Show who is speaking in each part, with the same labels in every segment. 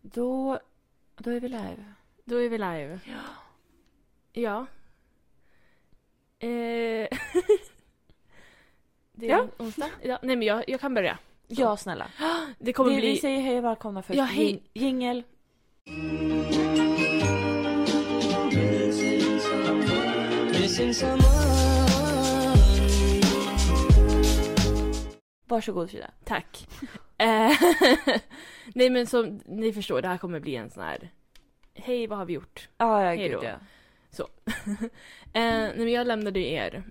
Speaker 1: Då, då är vi live.
Speaker 2: Då är vi live.
Speaker 1: Ja.
Speaker 2: Ja. Eh, det är
Speaker 1: Ja.
Speaker 2: onsdag. Ja, nej men jag, jag kan börja.
Speaker 1: Ja, snälla.
Speaker 2: Det kommer
Speaker 1: vi,
Speaker 2: bli...
Speaker 1: vi säger hej och välkomna först.
Speaker 2: Ja, hej.
Speaker 1: Jing- Jingel.
Speaker 3: Missing someone.
Speaker 1: Varsågod Frida.
Speaker 2: Tack. Eh, nej men som ni förstår, det här kommer bli en sån här... Hej, vad har vi gjort?
Speaker 1: Ah, ja,
Speaker 2: Hej
Speaker 1: gud
Speaker 2: då.
Speaker 1: ja.
Speaker 2: Eh, nej men jag lämnade ju er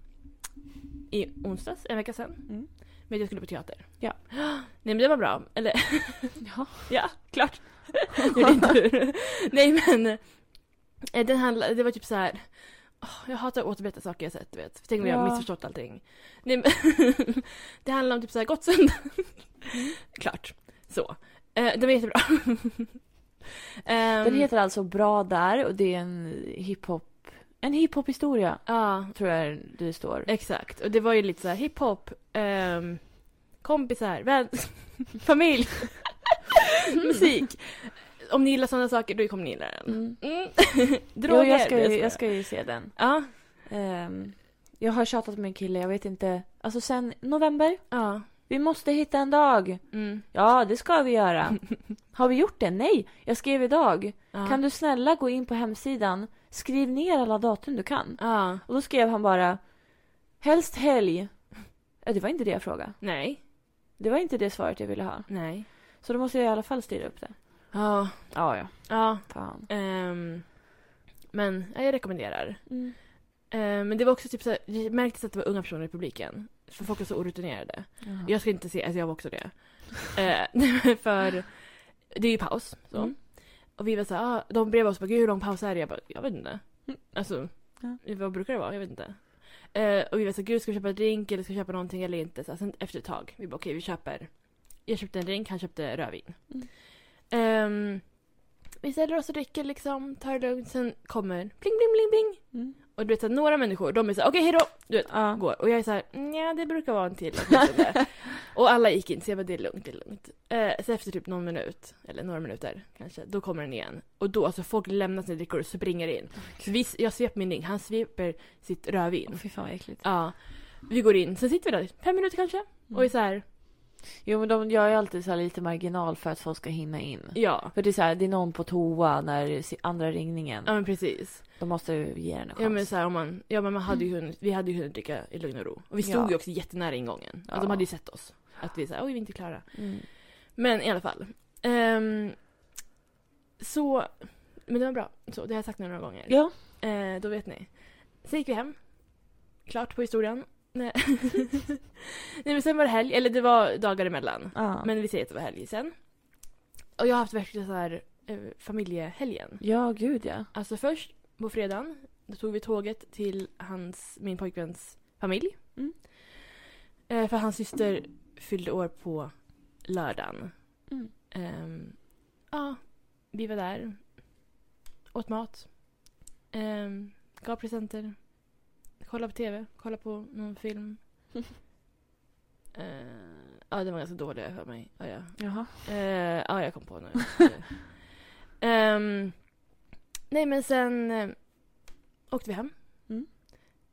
Speaker 2: i onsdags, en vecka sedan.
Speaker 1: Mm.
Speaker 2: Med att jag skulle på teater.
Speaker 1: Ja.
Speaker 2: Nej men det var bra. Eller
Speaker 1: ja.
Speaker 2: Ja, klart. det är din tur. Nej men, eh, den handla, det var typ så här. åh, Jag hatar att återberätta saker jag sett, du vet. Tänk om jag
Speaker 1: Ja.
Speaker 2: har missförstått allting. Nej, men det handlar om typ så här Gottsunda.
Speaker 1: Mm.
Speaker 2: Klart. Så. Eh, den var jättebra. Ehm, Mm.
Speaker 1: Den heter alltså Bra där och det är en hiphop... En hiphop-historia,
Speaker 2: Ja,
Speaker 1: tror jag det står.
Speaker 2: exakt. Och det var ju lite så här hiphop, ehm, kompisar, vän, familj, musik. Om ni gillar sådana saker, då kommer ni gilla den.
Speaker 1: Mm.
Speaker 2: Mm.
Speaker 1: Jo,
Speaker 2: Droger.
Speaker 1: jag ska,
Speaker 2: det
Speaker 1: ju,
Speaker 2: är
Speaker 1: jag
Speaker 2: så.
Speaker 1: ska ju se den.
Speaker 2: Ja,
Speaker 1: Ehm, jag har tjatat med en kille, jag vet inte. Alltså sen november.
Speaker 2: ja.
Speaker 1: Vi måste hitta en dag.
Speaker 2: Mm.
Speaker 1: Ja, det ska vi göra. Har vi gjort det? Nej, jag skrev idag.
Speaker 2: Ja.
Speaker 1: Kan du snälla gå in på hemsidan, skriv ner alla datum du kan.
Speaker 2: Ja.
Speaker 1: Och då skrev han bara helst helg. Ja, det var inte det jag frågade.
Speaker 2: Nej.
Speaker 1: Det var inte det svaret jag ville ha.
Speaker 2: Nej.
Speaker 1: Så då måste jag i alla fall styra upp det.
Speaker 2: Ja.
Speaker 1: Ja, ja.
Speaker 2: Ja.
Speaker 1: Fan.
Speaker 2: ehm, men ja, jag rekommenderar.
Speaker 1: Mm.
Speaker 2: Ehm, men det var också typ så här, det märktes att det var unga personer i publiken. För folk var så orutinerade.
Speaker 1: Ja.
Speaker 2: Jag ska inte se, alltså jag var också det. Eh, för det är ju paus. Så.
Speaker 1: Mm.
Speaker 2: Och vi var så här, ah, de bredvid oss bara, gud hur lång paus är det? Jag bara, jag vet inte.
Speaker 1: Mm.
Speaker 2: Alltså,
Speaker 1: Ja.
Speaker 2: vad brukar det vara? Jag vet inte. Eh, och vi var så här, gud ska vi köpa en drink eller ska vi köpa någonting eller inte? Så här, sen efter ett tag, vi bara okej vi köper. Jag köpte en drink, han köpte rödvin.
Speaker 1: Mm.
Speaker 2: Ehm, vi ställer oss och dricker liksom, tar det lugnt. Sen kommer pling, pling, pling, pling.
Speaker 1: Mm.
Speaker 2: Och du vet så här, några människor, de är så här, okej hejdå! Du vet,
Speaker 1: Ja.
Speaker 2: går. Och jag är så här, "Nja, det brukar vara en till åtminstone." Och alla gick in, så jag bara, det är lugnt, det är lugnt. Eh, så efter typ någon minut, eller några minuter kanske, då kommer den igen. Och då, alltså folk lämnar sina drickor och springer in.
Speaker 1: Oh
Speaker 2: Så vi, jag sveper min drink, han sveper sitt
Speaker 1: Åh,
Speaker 2: rödvin.
Speaker 1: Fy fan vad äckligt.
Speaker 2: Ja. Vi går in, sen sitter vi där fem minuter kanske.
Speaker 1: Mm.
Speaker 2: Och är så här,
Speaker 1: Jo men de gör ju alltid så här lite marginal för att folk ska hinna in.
Speaker 2: ja.
Speaker 1: För det är så här, det är någon på toa när si- andra ringningen.
Speaker 2: Ja men precis.
Speaker 1: De måste ju ge den en chans.
Speaker 2: Ja men så här, om man, ja, men man hade ju hunnit, vi hade ju hunnit dricka i lugn och ro. Och vi stod
Speaker 1: Mm. Ja.
Speaker 2: ju också jättenära ingången.
Speaker 1: Ja.
Speaker 2: Alltså, de hade ju sett oss. Att vi såhär, oj vi är inte klara.
Speaker 1: Mm.
Speaker 2: Men i alla fall. Ehm, så, men det var bra. Så, det har jag sagt nu några gånger.
Speaker 1: Ja.
Speaker 2: Eh, då vet ni. Sen gick vi hem. Klart på historien. Nej. Nej men sen var det helg, eller det var dagar emellan.
Speaker 1: Ja.
Speaker 2: Men vi säger att det var helg sen. Och jag har haft värsta så här eh, familjehelgen.
Speaker 1: ja, gud ja.
Speaker 2: Alltså först på fredagen, då tog vi tåget till hans, min pojkväns familj.
Speaker 1: Mm.
Speaker 2: Eh, för hans syster fyllde år på lördagen.
Speaker 1: Mm.
Speaker 2: Ehm, ja, vi var där. Åt mat. Um, gav presenter. Kollade på tv, kollade på någon film. Eh, ja, den var ganska dålig för mig. Ja, ja.
Speaker 1: Jaha.
Speaker 2: Eh, ja, jag kom på nu. Ehm, nej, men sen eh, åkte vi hem.
Speaker 1: Mm.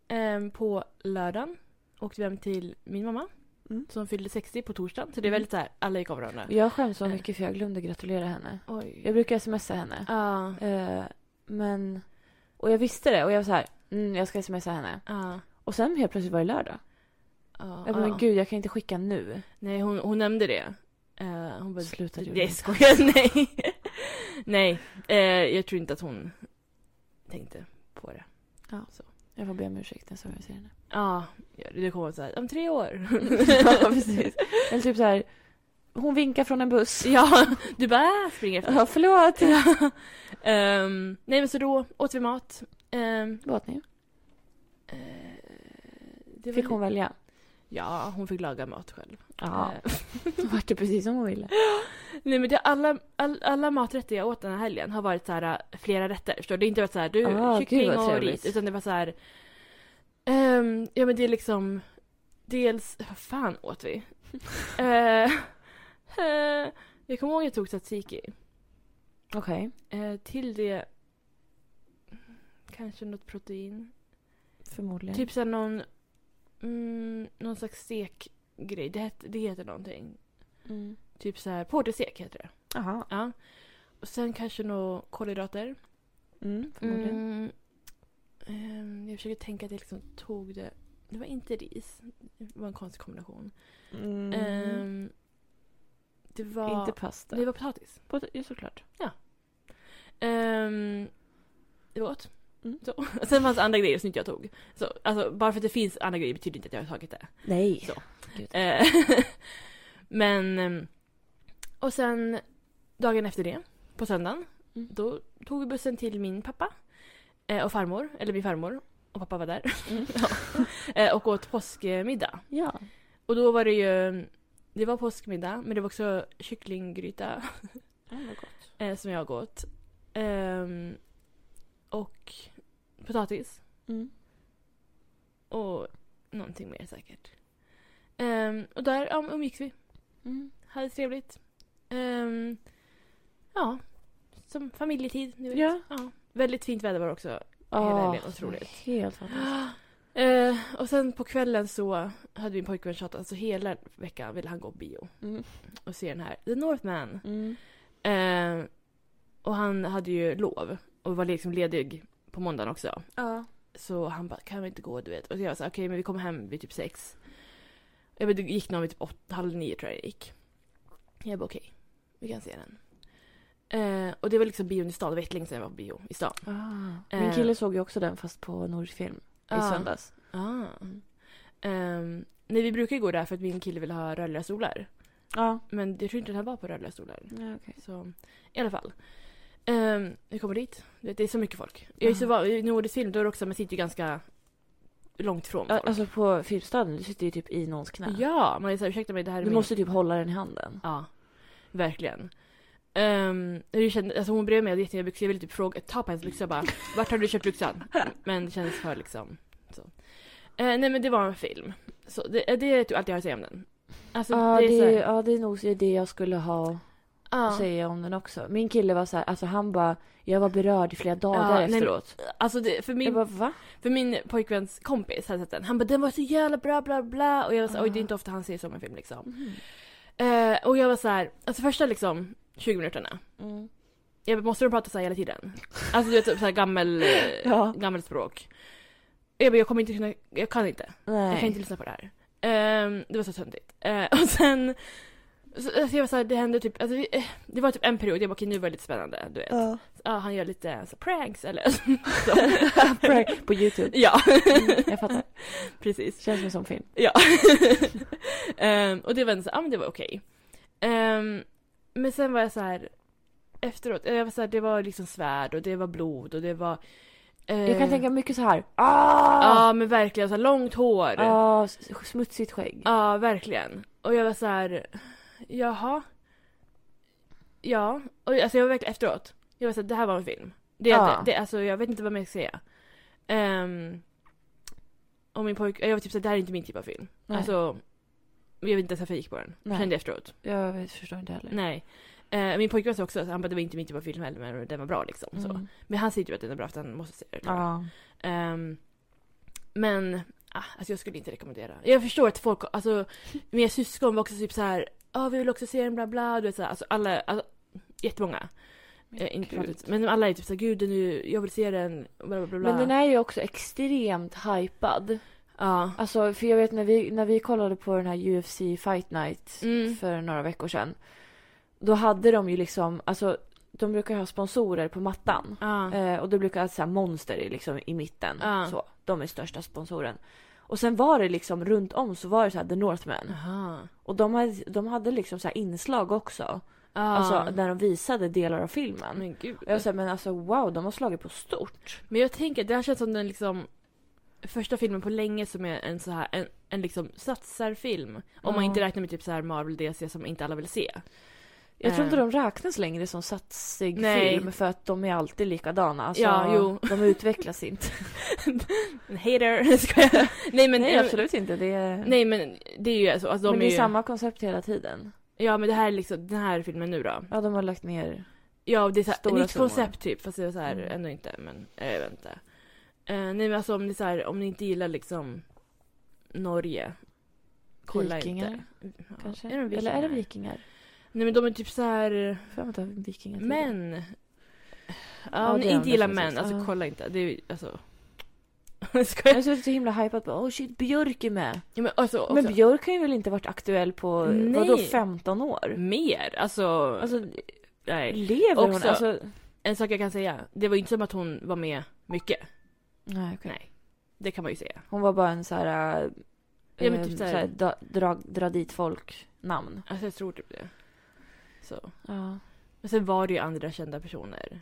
Speaker 2: Ehm, på lördagen åkte vi hem till min mamma
Speaker 1: Mm.
Speaker 2: som fyllde 60 på torsdagen. Så det är
Speaker 1: Mm.
Speaker 2: väldigt så här, alla gick av varandra.
Speaker 1: Jag skäms så mycket för jag glömde gratulera henne.
Speaker 2: Oj.
Speaker 1: Jag brukar smsa henne.
Speaker 2: Ja,
Speaker 1: Eh, men... Och jag visste det och jag var så här, mm, jag ska smsa henne.
Speaker 2: ja,
Speaker 1: Och sen helt plötsligt var det lördag.
Speaker 2: ja,
Speaker 1: Jag bara,
Speaker 2: ja.
Speaker 1: men gud jag kan inte skicka nu.
Speaker 2: Nej, hon, hon nämnde det. Eh, hon bara,
Speaker 1: Sluta Julia.
Speaker 2: jag skojar, nej. nej, eh, jag tror inte att hon tänkte på det.
Speaker 1: Jag får be om ursäkt nästa gång jag ser henne.
Speaker 2: Ja, gör det. det kommer så här, om tre år.
Speaker 1: ja, precis. Eller typ så här, hon vinkar från en buss.
Speaker 2: Ja, du bara äh, springer efter.
Speaker 1: Ja, förlåt.
Speaker 2: Ehm, nej men så då åt vi mat. Ehm,
Speaker 1: Vad åt ni?
Speaker 2: eh, det var
Speaker 1: Fick
Speaker 2: li-
Speaker 1: hon välja?
Speaker 2: Ja, hon fick laga mat själv.
Speaker 1: Ja,
Speaker 2: Eh,
Speaker 1: då vart det precis som hon ville.
Speaker 2: nej men det, alla, all, alla maträtter jag åt den här helgen har varit så här äh, flera rätter. Förstår du? Det är inte varit så här du,
Speaker 1: Ah, gud,
Speaker 2: kyckling
Speaker 1: vad
Speaker 2: och
Speaker 1: trevligt.
Speaker 2: ris. Utan det var så här. ehm, ja men det är liksom. Dels, vad fan åt vi? Eh, eh, jag kommer ihåg att jag tog tzatziki.
Speaker 1: Okej.
Speaker 2: Eh, till det kanske något protein.
Speaker 1: Förmodligen.
Speaker 2: Typ såhär någon, mm, någon slags stekgrej. Det, het, det heter någonting.
Speaker 1: Mm.
Speaker 2: Typ såhär porterstek heter det.
Speaker 1: Aha.
Speaker 2: Ja. Och sen kanske några kolhydrater.
Speaker 1: Mm, förmodligen.
Speaker 2: Mm. Ehm, jag försöker tänka att jag liksom tog det. Det var inte ris. Det var en konstig kombination.
Speaker 1: Mm.
Speaker 2: Ehm, det var...
Speaker 1: Inte pasta.
Speaker 2: det var potatis.
Speaker 1: Pot- ja, såklart.
Speaker 2: Ehm, det var gott.
Speaker 1: Mm.
Speaker 2: Så. Sen fanns det andra grejer som inte jag tog. Så, alltså, bara för att det finns andra grejer betyder inte att jag har tagit det.
Speaker 1: Nej.
Speaker 2: Så.
Speaker 1: Gud.
Speaker 2: Eh, Men... ehm, Och sen dagen efter det, på söndagen,
Speaker 1: Mm.
Speaker 2: då tog vi bussen till min pappa eh, och farmor, eller min farmor, och pappa var där.
Speaker 1: Mm.
Speaker 2: Ja. Eh, Och åt påskmiddag.
Speaker 1: Ja.
Speaker 2: Och då var det ju... Det var påskmiddag, men det var också kycklinggryta
Speaker 1: Mm, vad gott.
Speaker 2: eh, som jag åt. Ehm, och potatis.
Speaker 1: Mm.
Speaker 2: Och någonting mer säkert. Ehm, och där ja, men umgicks vi.
Speaker 1: Mm.
Speaker 2: Hade trevligt. Ehm, ja, som familjetid. Du vet.
Speaker 1: Ja.
Speaker 2: Väldigt fint väder var det också. Hela
Speaker 1: Åh,
Speaker 2: helgen, otroligt.
Speaker 1: Helt fantastiskt.
Speaker 2: Eh, och sen på kvällen så hade min pojkvän tjatat. Alltså hela veckan ville han gå på bio
Speaker 1: Mm.
Speaker 2: och se den här The Northman.
Speaker 1: Mm.
Speaker 2: Eh, och han hade ju lov och var liksom ledig på måndagen också.
Speaker 1: Ja.
Speaker 2: Så han bara, kan vi inte gå du vet? Och jag sa, okej men vi kommer hem vid typ sex. Jag vet, det gick någon vid typ åtta, halv nio tror jag det gick. Jag bara, okej, vi kan se den. Eh, och det var liksom bion i stan, det var länge sedan jag var på bio i stan.
Speaker 1: Ah. Min
Speaker 2: Eh.
Speaker 1: kille såg ju också den fast på Nordisk film i söndags.
Speaker 2: Ah. Ehm, nej vi brukar ju gå där för att min kille vill ha rörliga stolar.
Speaker 1: Ja.
Speaker 2: Men jag tror inte den här var på rörliga stolar.
Speaker 1: ja okej.
Speaker 2: Så i alla fall. Um, vi kommer dit. Du vet, Det är så mycket folk. Jag är
Speaker 1: Ah.
Speaker 2: så van, I nordisk film då är det också, man sitter ju ganska långt från
Speaker 1: Ja,
Speaker 2: folk.
Speaker 1: Alltså på Filmstaden, du sitter ju typ i någons knä.
Speaker 2: Ja, man är såhär, ursäkta mig det här är
Speaker 1: Du
Speaker 2: min...
Speaker 1: måste typ hålla den i handen.
Speaker 2: Ja, verkligen. Um, jag kände, alltså hon bredvid mig hade jättemånga byxor, jag ville typ fråga, ta på hennes byxor jag bara, vart har du köpt byxan? Men det kändes för liksom, så. Eh, nej men det var en film. Så det, det är typ allt jag har att säga om den. Alltså
Speaker 1: Ja,
Speaker 2: det är
Speaker 1: det,
Speaker 2: såhär,
Speaker 1: är, ja, det är nog det jag skulle ha
Speaker 2: ja.
Speaker 1: att säga om den också. Min kille var så här, alltså han bara, jag var berörd i flera
Speaker 2: Ja,
Speaker 1: dagar
Speaker 2: nej, men-
Speaker 1: efteråt.
Speaker 2: Alltså det, för, min,
Speaker 1: Jag bara, va?
Speaker 2: för min pojkväns kompis hade sett den, han bara den var så jävla bra bla bla och jag var såhär,
Speaker 1: Ah.
Speaker 2: oj det är inte ofta han ser så om en film liksom.
Speaker 1: Mm.
Speaker 2: Eh, och jag var såhär, alltså första liksom 20 minuterna,
Speaker 1: Mm.
Speaker 2: jag bara, måste de prata såhär hela tiden? Alltså du vet typ såhär gammel, eh,
Speaker 1: Ja.
Speaker 2: gammelt språk. Jag bara, jag kommer inte kunna, jag kan inte.
Speaker 1: Nej.
Speaker 2: Jag kan inte lyssna på det här. Ehm, det var så töntigt. Eh, och sen, så, alltså jag var såhär, det hände typ, alltså, vi- eh, det var typ en period, jag bara okej nu var det lite spännande, du vet. Ja,
Speaker 1: Ja.
Speaker 2: han gör lite så, pranks eller så.
Speaker 1: Prank På Youtube.
Speaker 2: Ja,
Speaker 1: Mm, jag fattar.
Speaker 2: precis.
Speaker 1: Känns som en sån film.
Speaker 2: Ja. Ehm, och det var ändå så, ja men det var okej. Ehm, men sen var jag så här efteråt, jag var så här, det var liksom svärd och det var blod och det var...
Speaker 1: Jag kan
Speaker 2: eh,
Speaker 1: tänka mycket så här.
Speaker 2: Ja
Speaker 1: Ah!
Speaker 2: men verkligen, så här, långt hår. Ja
Speaker 1: Ah, s- smutsigt skägg.
Speaker 2: verkligen. Och jag var så här, jaha. Ja, och alltså jag var verkligen efteråt. Jag var så här, det här var en film. Det,
Speaker 1: Ja.
Speaker 2: det, det, alltså jag vet inte vad mer jag ska säga. Ehm, och min pojk, jag var typ så här, det här är inte min typ av film.
Speaker 1: Nej.
Speaker 2: Alltså, jag vet inte ens varför jag gick på den.
Speaker 1: Nej.
Speaker 2: Kände efteråt.
Speaker 1: Jag vet- förstår inte heller.
Speaker 2: Nej. Eh, min pojkvän sa också att han bara, det var inte min typ av film heller men den var bra liksom. Så.
Speaker 1: Mm.
Speaker 2: Men han säger ju att den är bra för att han måste se den.
Speaker 1: Ja.
Speaker 2: Ehm, men, ah, alltså jag skulle inte rekommendera. Jag förstår att folk, alltså mina syskon var också typ så här, ja vi vill också se den bla bla, du vet så här, alltså alla, alltså, jättemånga. Eh, inte
Speaker 1: Gud.
Speaker 2: pratat, men alla är typ så här, gud den är ju, jag vill se den, bla bla bla. bla.
Speaker 1: Men den är ju också extremt hypad.
Speaker 2: Ja.
Speaker 1: Alltså, för jag vet när vi, när vi kollade på den här UFC Fight Night
Speaker 2: Mm.
Speaker 1: för några veckor sedan. Då hade de ju liksom, alltså de brukar ha sponsorer på mattan.
Speaker 2: Ja.
Speaker 1: Eh, och det brukar alltid så här monster i, liksom, i mitten.
Speaker 2: Ja.
Speaker 1: Så, de är största sponsoren. Och sen var det liksom runt om så var det så här The Northman.
Speaker 2: Aha.
Speaker 1: Och de hade, de hade liksom så här inslag också.
Speaker 2: Ja. Mm.
Speaker 1: Alltså när de visade delar av filmen.
Speaker 2: Ah. men gud.
Speaker 1: Och jag sa men alltså wow, de har slagit på stort.
Speaker 2: Men jag tänker, det här känns som den liksom första filmen på länge som är en så här, en, en liksom satsarfilm. Om man
Speaker 1: Ja.
Speaker 2: inte räknar med typ så här Marvel DC som inte alla vill se.
Speaker 1: Jag tror inte
Speaker 2: Eh.
Speaker 1: de räknas längre som satsig
Speaker 2: Nej.
Speaker 1: film för att de är alltid likadana. Alltså,
Speaker 2: Ja, jo.
Speaker 1: De utvecklas inte.
Speaker 2: Hater, skojar jag. Nej men, eh,
Speaker 1: nej, absolut inte. Det är...
Speaker 2: nej men det är ju alltså, alltså de
Speaker 1: men det
Speaker 2: är
Speaker 1: är
Speaker 2: ju,
Speaker 1: samma koncept hela tiden.
Speaker 2: Ja men det här är liksom, den här filmen nu då.
Speaker 1: Ja, de har lagt ner.
Speaker 2: Ja, och det är så här,
Speaker 1: Stora
Speaker 2: nytt
Speaker 1: summor.
Speaker 2: koncept typ. Fast det var så här,
Speaker 1: Mm.
Speaker 2: ändå inte. Men eh, jag vet inte. Eh, nej men alltså om ni, så här, om ni inte gillar liksom Norge. Kolla
Speaker 1: Vikingar,
Speaker 2: inte. Ja,
Speaker 1: Kanske.
Speaker 2: Är de
Speaker 1: Eller är det
Speaker 2: vikingar?
Speaker 1: vikingar?
Speaker 2: Nej men de är typ så här
Speaker 1: För jag har vikingar till.
Speaker 2: Män. Ja,
Speaker 1: Ja,
Speaker 2: om
Speaker 1: det
Speaker 2: ni
Speaker 1: är
Speaker 2: inte
Speaker 1: de
Speaker 2: gillar
Speaker 1: definitivt.
Speaker 2: män, alltså
Speaker 1: Ja.
Speaker 2: kolla inte. Det är ju, alltså.
Speaker 1: Jag
Speaker 2: Skojar.
Speaker 1: har suttit så himla hypad på oh shit, Björk är med.
Speaker 2: Ja, men alltså, också,
Speaker 1: Men Björk har ju väl inte varit aktuell på
Speaker 2: Nej.
Speaker 1: vadå 15 år?
Speaker 2: mer. Alltså,
Speaker 1: Alltså
Speaker 2: nej.
Speaker 1: lever hon?
Speaker 2: Också-
Speaker 1: Alltså,
Speaker 2: En sak jag kan säga, det var ju inte som att hon var med mycket.
Speaker 1: nej, okej.
Speaker 2: Nej. Det kan man ju säga.
Speaker 1: Hon var bara en så här, äh,
Speaker 2: Ja, men typ
Speaker 1: ehm,
Speaker 2: så här-
Speaker 1: så här, dra, dra, dra dit folk namn.
Speaker 2: Alltså jag tror typ det. Så.
Speaker 1: Ja,
Speaker 2: Men sen var det ju andra kända personer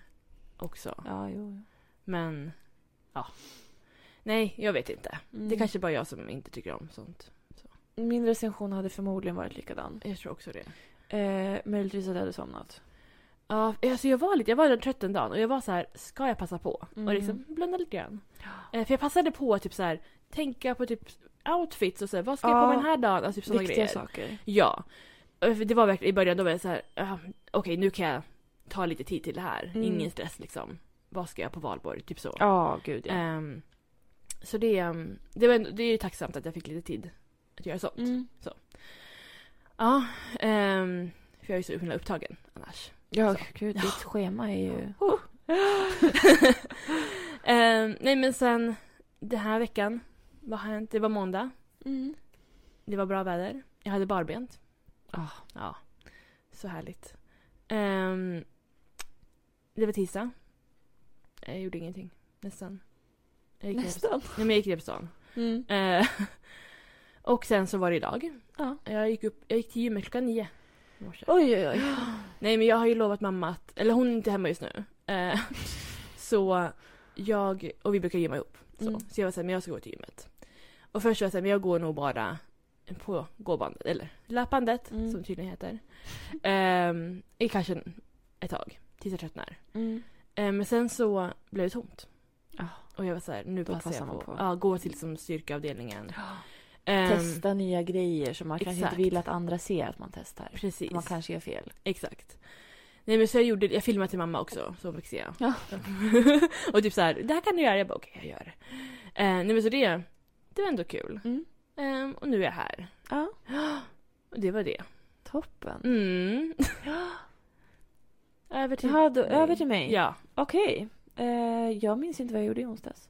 Speaker 2: också.
Speaker 1: ja jo.
Speaker 2: Men, ja. Nej, jag vet inte.
Speaker 1: Mm.
Speaker 2: Det kanske bara jag som inte tycker om sånt.
Speaker 1: Min recension hade förmodligen varit likadan.
Speaker 2: Jag tror också det.
Speaker 1: Eh, möjligtvis att jag hade somnat.
Speaker 2: Ja, alltså jag var lite, jag var redan trött den dagen och jag var så här, ska jag passa på?
Speaker 1: Mm.
Speaker 2: Och liksom blunda lite grann. Eh, för jag passade på att typ så här, tänka på typ outfits och så här, vad ska jag på
Speaker 1: Ja,
Speaker 2: mig den här dagen? Alltså typ såna
Speaker 1: Viktiga
Speaker 2: grejer.
Speaker 1: saker.
Speaker 2: Ja. Eh, för Det var verkligen, i början då var jag så här, ah, okej nu kan jag ta lite tid till det här.
Speaker 1: Mm.
Speaker 2: Ingen stress liksom. Vad ska jag på valborg? Typ så.
Speaker 1: Ja, gud ja.
Speaker 2: Ehm, så det, ehm, det, var, ändå- det är ju tacksamt att jag fick lite tid att göra sånt.
Speaker 1: Mm.
Speaker 2: Ja, ehm, för jag är ju så himla upptagen annars.
Speaker 1: Ja,
Speaker 2: Så.
Speaker 1: gud, ditt schema är ju...
Speaker 2: Ehm, nej men sen den här veckan, vad har hänt? Det var måndag,
Speaker 1: Mm.
Speaker 2: det var bra väder, jag hade barbent.
Speaker 1: Ah.
Speaker 2: Ja, så härligt. Ehm, det var tisdag. Jag gjorde ingenting, nästan. Jag gick ner på stan.
Speaker 1: Nästan.
Speaker 2: Nej men jag gick ner på stan.
Speaker 1: Mm.
Speaker 2: Ehm, och sen så var det idag.
Speaker 1: Ja.
Speaker 2: Jag gick, upp, jag gick till gymmet klockan nio. i morse.
Speaker 1: Oj, oj, oj.
Speaker 2: Nej men jag har ju lovat mamma att, eller hon är inte hemma just nu. Eh, så jag, och vi brukar gymma ihop. Så,
Speaker 1: Mm.
Speaker 2: så jag var såhär, men jag ska gå till gymmet. Och först var jag såhär, men jag går nog bara på gåbandet, eller löpbandet
Speaker 1: Mm.
Speaker 2: som det tydligen heter. Ehm, I kanske en- ett tag, tills jag tröttnar.
Speaker 1: Mm.
Speaker 2: Eh, men sen så blev det tomt.
Speaker 1: Ja.
Speaker 2: Och jag var såhär, nu
Speaker 1: Ah. Då
Speaker 2: passar
Speaker 1: passar
Speaker 2: jag
Speaker 1: man
Speaker 2: på.
Speaker 1: på.
Speaker 2: Ja, gå till som styrkeavdelningen. Ehm,
Speaker 1: Testa nya grejer som man kanske
Speaker 2: exakt.
Speaker 1: inte vill att andra ser att man testar.
Speaker 2: Precis.
Speaker 1: Man kanske gör fel.
Speaker 2: Exakt. Nej men så jag gjorde jag filmade till mamma också så hon fick se.
Speaker 1: Ja.
Speaker 2: och typ så här, det här kan du göra. Jag bara okej jag gör det. Eh, nej men så det, det var ändå kul.
Speaker 1: Mm.
Speaker 2: Ehm, och nu är jag här.
Speaker 1: Ja.
Speaker 2: Och det var det.
Speaker 1: Toppen.
Speaker 2: Mm. Över till
Speaker 1: Jaha, då,
Speaker 2: dig.
Speaker 1: över till mig.
Speaker 2: Ja.
Speaker 1: Okej. Eh, jag minns inte vad jag gjorde i onsdags.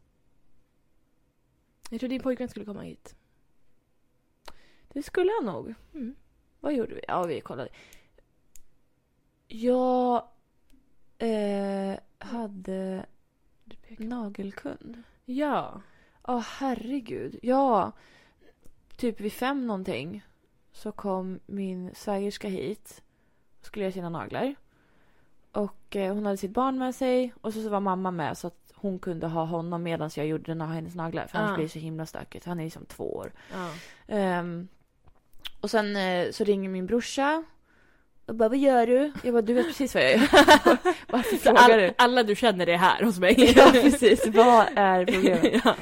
Speaker 2: Jag trodde din pojkvän skulle komma hit.
Speaker 1: Det skulle jag nog.
Speaker 2: Mm.
Speaker 1: Vad gjorde vi? Ja, vi kollade. Jag eh, hade
Speaker 2: Du pekar.
Speaker 1: nagelkund.
Speaker 2: Ja.
Speaker 1: Ja, herregud. Ja, typ vid fem någonting så kom min svägerska hit och skulle göra sina naglar. Och eh, hon hade sitt barn med sig och så, så var mamma med så att hon kunde ha honom medan jag gjorde den här hennes naglar. För
Speaker 2: Ah.
Speaker 1: annars blir det så himla stökigt. Han är liksom två år.
Speaker 2: ja.
Speaker 1: Ehm, och sen eh, så ringer min brorsa och bara vad gör du? Jag bara du vet precis vad jag gör. Varför
Speaker 2: Så
Speaker 1: frågar
Speaker 2: all,
Speaker 1: du?
Speaker 2: alla du känner är här hos mig.
Speaker 1: Ja precis, vad är problemet?
Speaker 2: ja.